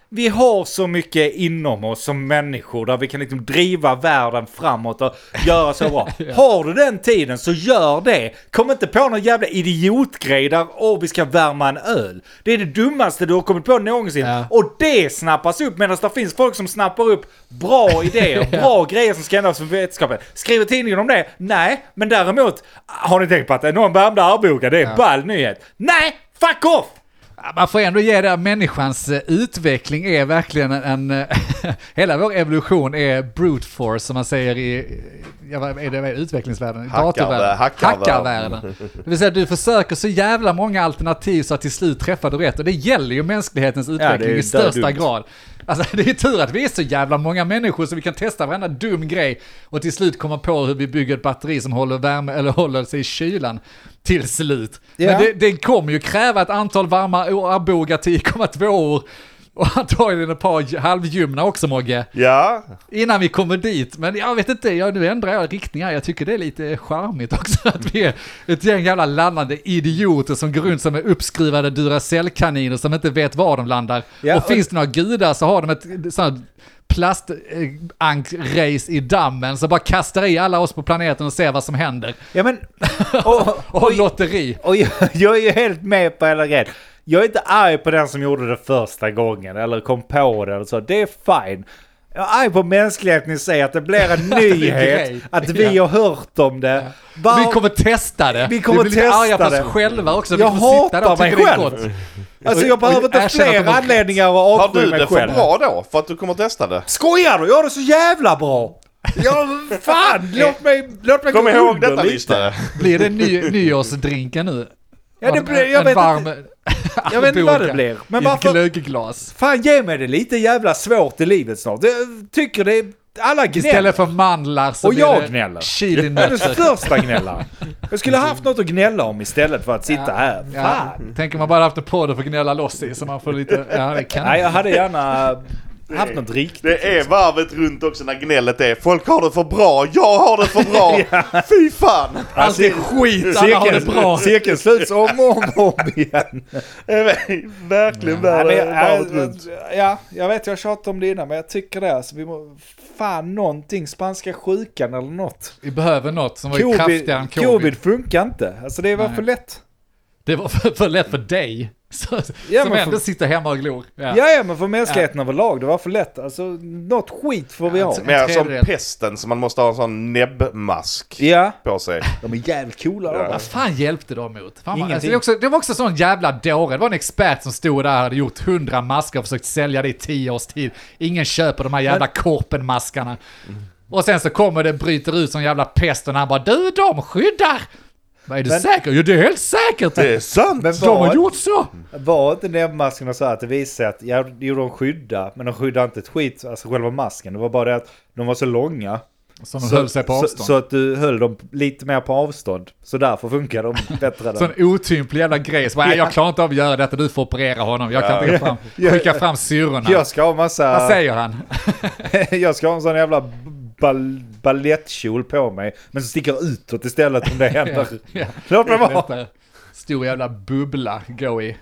A: vi har så mycket inom oss som människor där vi kan liksom driva världen framåt och göra så bra. Har du den tiden så gör det. Kom inte på någon jävla idiotgrej där, åh vi ska värma en öl. Det är det dummaste du har kommit på någonsin.
C: Ja.
A: Och det snappas upp medan det finns folk som snappar upp bra idéer, bra grejer som ska ändras för vetenskapen. Skriver tidningen om det? Nej, men däremot har ni tänkt på att någon värmde Arboga, det är ball nyhet. Nej, fuck off!
C: Ja, Man får ändå ge det att människans eh, utveckling är verkligen en... en hela vår evolution är brute force som man säger i... Ja, vad är det vad är det? utvecklingsvärlden?
B: Hackar-
C: Datorvärlden?
B: hackarvärlden.
C: Hackarvärlden. Det vill säga du försöker så jävla många alternativ så att till slut träffar du rätt. Och det gäller ju mänsklighetens
A: det är
C: utveckling
A: ju
C: i största
A: dödumt.
C: grad. Alltså det är tur att vi är så jävla många människor så vi kan testa varenda dum grej och till slut komma på hur vi bygger ett batteri som håller värme eller håller sig i kylan till slut.
A: Ja.
C: Men det, det kommer ju kräva ett antal varma år, Arboga 10,2 år och antagligen ett par j- halvljumna också Mogge,
B: Ja,
C: innan vi kommer dit. Men jag vet inte, jag, nu ändrar jag riktning här. Jag tycker det är lite charmigt också att vi är ett gäng jävla landande idioter som går runt som är uppskruvade Duracell-kaniner som inte vet var de landar.
A: Ja,
C: och,
A: och-
C: finns det några gudar så har de ett sånt plastank-race i dammen som bara kastar i alla oss på planeten och ser vad som händer.
A: Ja men... Och,
C: Och lotteri.
A: Och jag, jag är ju helt med på hela grejen. Jag är inte arg på den som gjorde det första gången eller kom på det eller så. Det är fine. Jag är arg på mänskligheten i sig att det blir en
C: grej.
A: nyhet, att vi har hört om det. Bara-
C: Vi kommer testa det.
A: Vi kommer
C: vi blir lite
A: testa
C: arga på
A: det.
C: oss själva också.
A: Jag
C: vi kommer sitta där och
A: hatar
C: tycka
A: mig
C: det är
A: själv.
C: gott.
A: Alltså jag
C: Och-
A: behöver
C: och
A: inte
C: erkänna att de
A: fler
C: har rätt.
A: anledningar att
B: Har du
A: avsky mig
B: det för
A: själv.
B: bra då? För att du kommer att testa det?
A: Skojar du? Jag har det så jävla bra! Ja, fan! låt mig, låt mig
B: Kom
A: gå
B: ihåg
A: under
B: detta
A: lite.
B: lyssnare.
C: Blir det ny, nyårsdrinken nu?
A: Ja, det
C: En-
A: blir- jag
C: en
A: vet
C: varm
A: Jag vet inte vad det
C: armbåge
A: blir. Men
C: i ett
A: varför-
C: glöggglas.
A: Fan ge mig det lite jävla svårt i livet snart. Jag tycker det är... Alla gnäller.
C: Istället för mandlar så
A: Och
C: blir
A: jag
C: det
A: gnäller. Jag är den
C: chilinötter.
A: största gnällaren. Jag skulle haft något att gnälla om istället för att sitta här. Fan!
C: Ja, tänker man bara haft en podd att få gnälla loss i så man får lite... Ja, det kan
A: Nej, jag hade gärna haft något riktigt.
B: Det är varvet runt också när gnället är folk har det för bra, jag har det för bra. Fy fan!
C: Allt är skit, alla har det bra.
A: cirkeln sluts om och om, och om igen.
B: Verkligen
A: Nej, men
B: värre
A: jag,
B: varvet runt.
A: jag- ja, jag vet, jag tjatar om det innan, men jag tycker det. Alltså, vi må, fan, någonting, spanska sjukan eller något.
C: Vi behöver något som var kraftigare än
A: Covid,
C: covid.
A: covid funkar inte. Alltså det var
C: Nej.
A: för lätt.
C: Det var för, för lätt för dig. Så,
A: Ja,
C: som
A: men
C: ändå
A: för-
C: sitter hemma och glor. Ja.
A: Ja, ja, men för mänskligheten överlag, det var för lätt. Alltså, något skit får vi
C: Ja,
A: ha.
C: alltså-
B: äh, Mer som
C: tredjedel.
B: pesten som man måste ha en sån näbbmask
A: Ja,
B: på sig.
A: de är jävligt coola.
B: Ja.
A: Ja.
C: Vad fan hjälpte de mot? Fan, vad-
A: Ingenting.
C: alltså, det, var också, det var också sån jävla dåre. Det var en expert som stod där och hade gjort hundra maskar och försökt sälja det i tio års tid. Ingen köper de här jävla korpenmaskarna.
A: Mm.
C: Och sen så kommer det, bryter ut som jävla pest och han bara du de skyddar! Vad är du
A: Men-
C: säker? Jo det är helt säkert!
B: Det är sant!
A: Men
C: de har
A: vad-
C: gjort så!
A: Var inte näbbmaskerna så här att det visade sig att, ja, det gjorde de skydda, men de skyddade inte ett skit, alltså själva masken. Det var bara det att de var så långa.
C: Som de höll sig på
A: så,
C: avstånd.
A: så att du höll dem lite mer på avstånd. Så därför funkar de bättre där.
C: Sån otymplig jävla grej. Så bara, "Nej, jag klarar inte av att göra detta, du får operera honom. Jag kan inte gå fram, skicka fram syrrorna.
A: Jag ska ha
C: Vad
A: massa...
C: säger han?
A: jag ska ha en sån jävla bal, balettkjol på mig. Men som sticker utåt istället om det händer.
C: Ja.
A: Låt mig vara.
C: Detta Stor jävla bubbla gå i.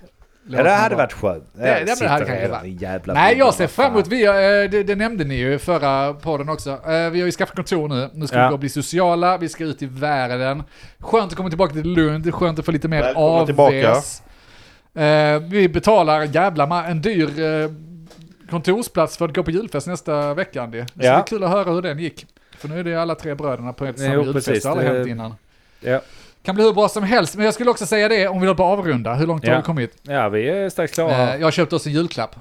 A: Ja,
C: Låt
A: det
C: mig
A: hade
C: bara-
A: varit skönt.
C: det hade
A: Sitter
C: varit-
A: i den
C: varit-
A: jävla
C: Nej,
A: bilen,
C: jag ser
A: vad
C: fram emot,
A: fan.
C: vi, har, eh, det, det nämnde ni ju i förra podden också. Eh, Vi har ju skaffat kontor nu, nu ska
A: Ja.
C: vi gå och bli sociala, vi ska ut i världen. Skönt att komma tillbaka till Lund, skönt att få lite mer
B: Välkomna tillbaka.
C: avväs. Eh, Vi betalar jävla ma- en dyr eh, kontorsplats för att gå på julfest nästa vecka, Andy. Det ska
A: Ja.
C: bli kul att höra hur den gick. För nu är det alla tre bröderna på ett
A: Jo,
C: samma julfest,
A: precis.
C: det har aldrig
A: Det-
C: hänt innan.
A: Ja.
C: Kan bli hur bra som helst, men jag skulle också säga det om vi håller på att avrunda, hur långt har
A: Ja.
C: vi kommit?
A: ja, vi är strax klara.
C: Eh, Jag har köpt oss en julklapp.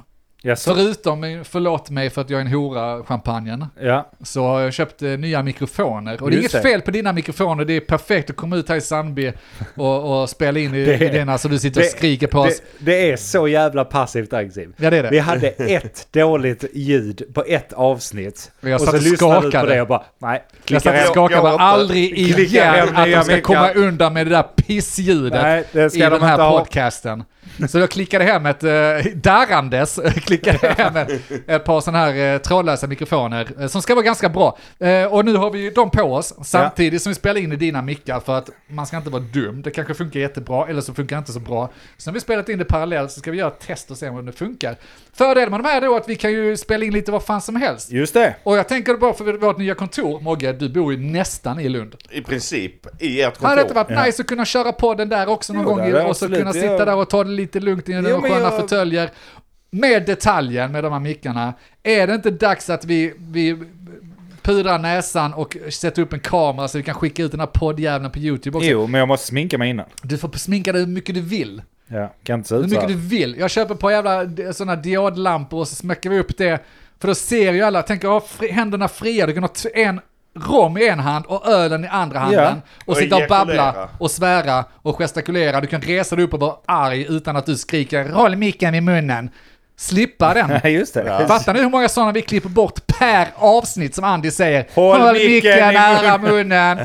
A: Jaså?
C: Förutom, min förlåt mig för att jag är en hora, champagnen,
A: Ja.
C: så har jag köpt eh, nya mikrofoner. Och det är
A: Just
C: inget
A: det.
C: fel på dina mikrofoner, det är perfekt att komma ut här i Sandby och, och spela in i,
A: Det-
C: i dina så du sitter och skriker på oss.
A: det, det är så jävla passivt aggressivt.
C: Ja det är det.
A: Vi hade ett dåligt ljud på ett avsnitt.
C: Men jag
A: och
C: satt
A: så
C: och
A: lyssnade du på
C: skakade.
A: det och bara, nej,
C: jag
A: klicka
C: satt och
A: hem.
C: skakade
B: jag
C: bara,
B: har inte-
C: aldrig
A: Klicka hem
C: igen att
A: nya
C: de ska
A: mickar.
C: komma undan med det där pissljudet.
A: Nej, det ska
C: i
A: de
C: den här
A: inte ha.
C: podcasten. Så jag klickade hem ett, eh, darrandes, klickade hem ett, ett par sådana här eh, trådlösa mikrofoner eh, som ska vara ganska bra. Eh, och nu har vi ju dem på oss samtidigt som vi spelar in i dina mickar för att man ska inte vara dum. Det kanske funkar jättebra eller så funkar det inte så bra. Så när vi spelat in det parallellt så ska vi göra ett test och se om det funkar. Fördelen med de här då är att vi kan ju spela in lite vad fan som helst.
A: Just det.
C: Och jag tänker bara för vårt nya kontor, Mogge, du bor ju nästan i Lund.
B: I princip, i ert
C: Hade det inte
B: kontor.
C: varit nice att kunna köra på den där också någon
A: Jo,
C: gång
A: det
C: i-
A: hade jag
C: och så
A: absolut,
C: kunna
A: det
C: sitta
A: gör-
C: där och ta det lite lugnt i
A: Jo,
C: de
A: men
C: sköna
A: jag-
C: fåtöljer. Med detaljen med de här mickarna, är det inte dags att vi, vi pudrar näsan och sätter upp en kamera så vi kan skicka ut den här poddjäveln på YouTube också?
A: Jo, men jag måste sminka mig innan.
C: Du får sminka dig hur mycket du vill.
A: Ja, kan inte se
C: Hur
A: ut så
C: mycket
A: här.
C: du vill. Jag köper på jävla sådana diodlampor och så smäcker vi upp det. För då ser ju alla, tänker jag, ha fri, händerna fria, du kan ha t- en rom i en hand och ölen i andra handen.
A: Ja.
C: Och,
B: Och
C: sitta och babbla
B: ejakulera.
C: och svära och gestikulera. Du kan resa dig upp och vara arg utan att du skriker håll micken i munnen. Slippa den.
A: Nej, just det.
B: Ja.
C: Fattar ni hur många sådana vi klipper bort per avsnitt som Andy säger?
A: Håll micken i
C: nära munnen.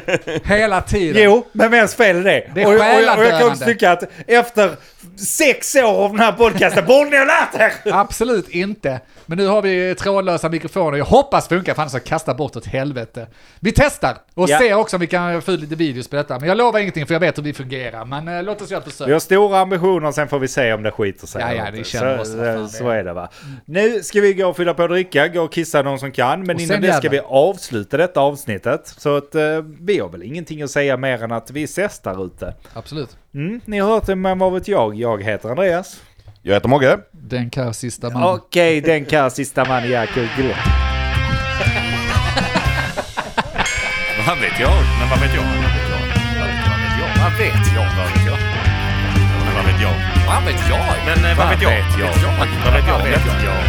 C: Hela tiden.
A: Jo, men vems fel är det?
C: Det är
A: och, och, jag- och jag kan
C: själadödande.
A: också tycka att efter sex år av den här podcasten borde ni ha lärt er!
C: Absolut inte. Men nu har vi trådlösa mikrofoner. Jag hoppas funkar, för annars så kasta bort åt helvete. Vi testar och
A: Ja.
C: ser också om vi kan få ut lite videos på detta. Men jag lovar ingenting för jag vet hur vi fungerar. Men eh, låt oss göra ett försök.
A: Vi har stora ambitioner, sen får vi se om det skiter sig.
C: Ja,
A: eller
C: ja,
A: inte.
C: det känner oss,
A: så,
C: vad fan det
A: så, så
C: är.
A: är det va. Nu ska vi gå och fylla på och dricka, gå och kissa de som kan. Men
C: Och sen
A: innan det ska
C: jävlar.
A: vi avsluta detta avsnittet. Så att eh, vi har väl ingenting att säga mer än att vi ses där ute.
C: Absolut.
A: Mm, ni har hört det, men vad vet jag? Jag heter Andreas.
B: Jag heter Mogge.
C: Den kar sista man.
A: Okej, den kan sista man i Jakob
D: Vad vet jag? Men vad vet jag? Vad vet jag? Vad vet jag? Vad vet jag? Men vad vet jag? Vad vet jag? Men vad vet jag? Vad vet jag? Vad vet jag?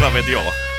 D: Vad vet jag?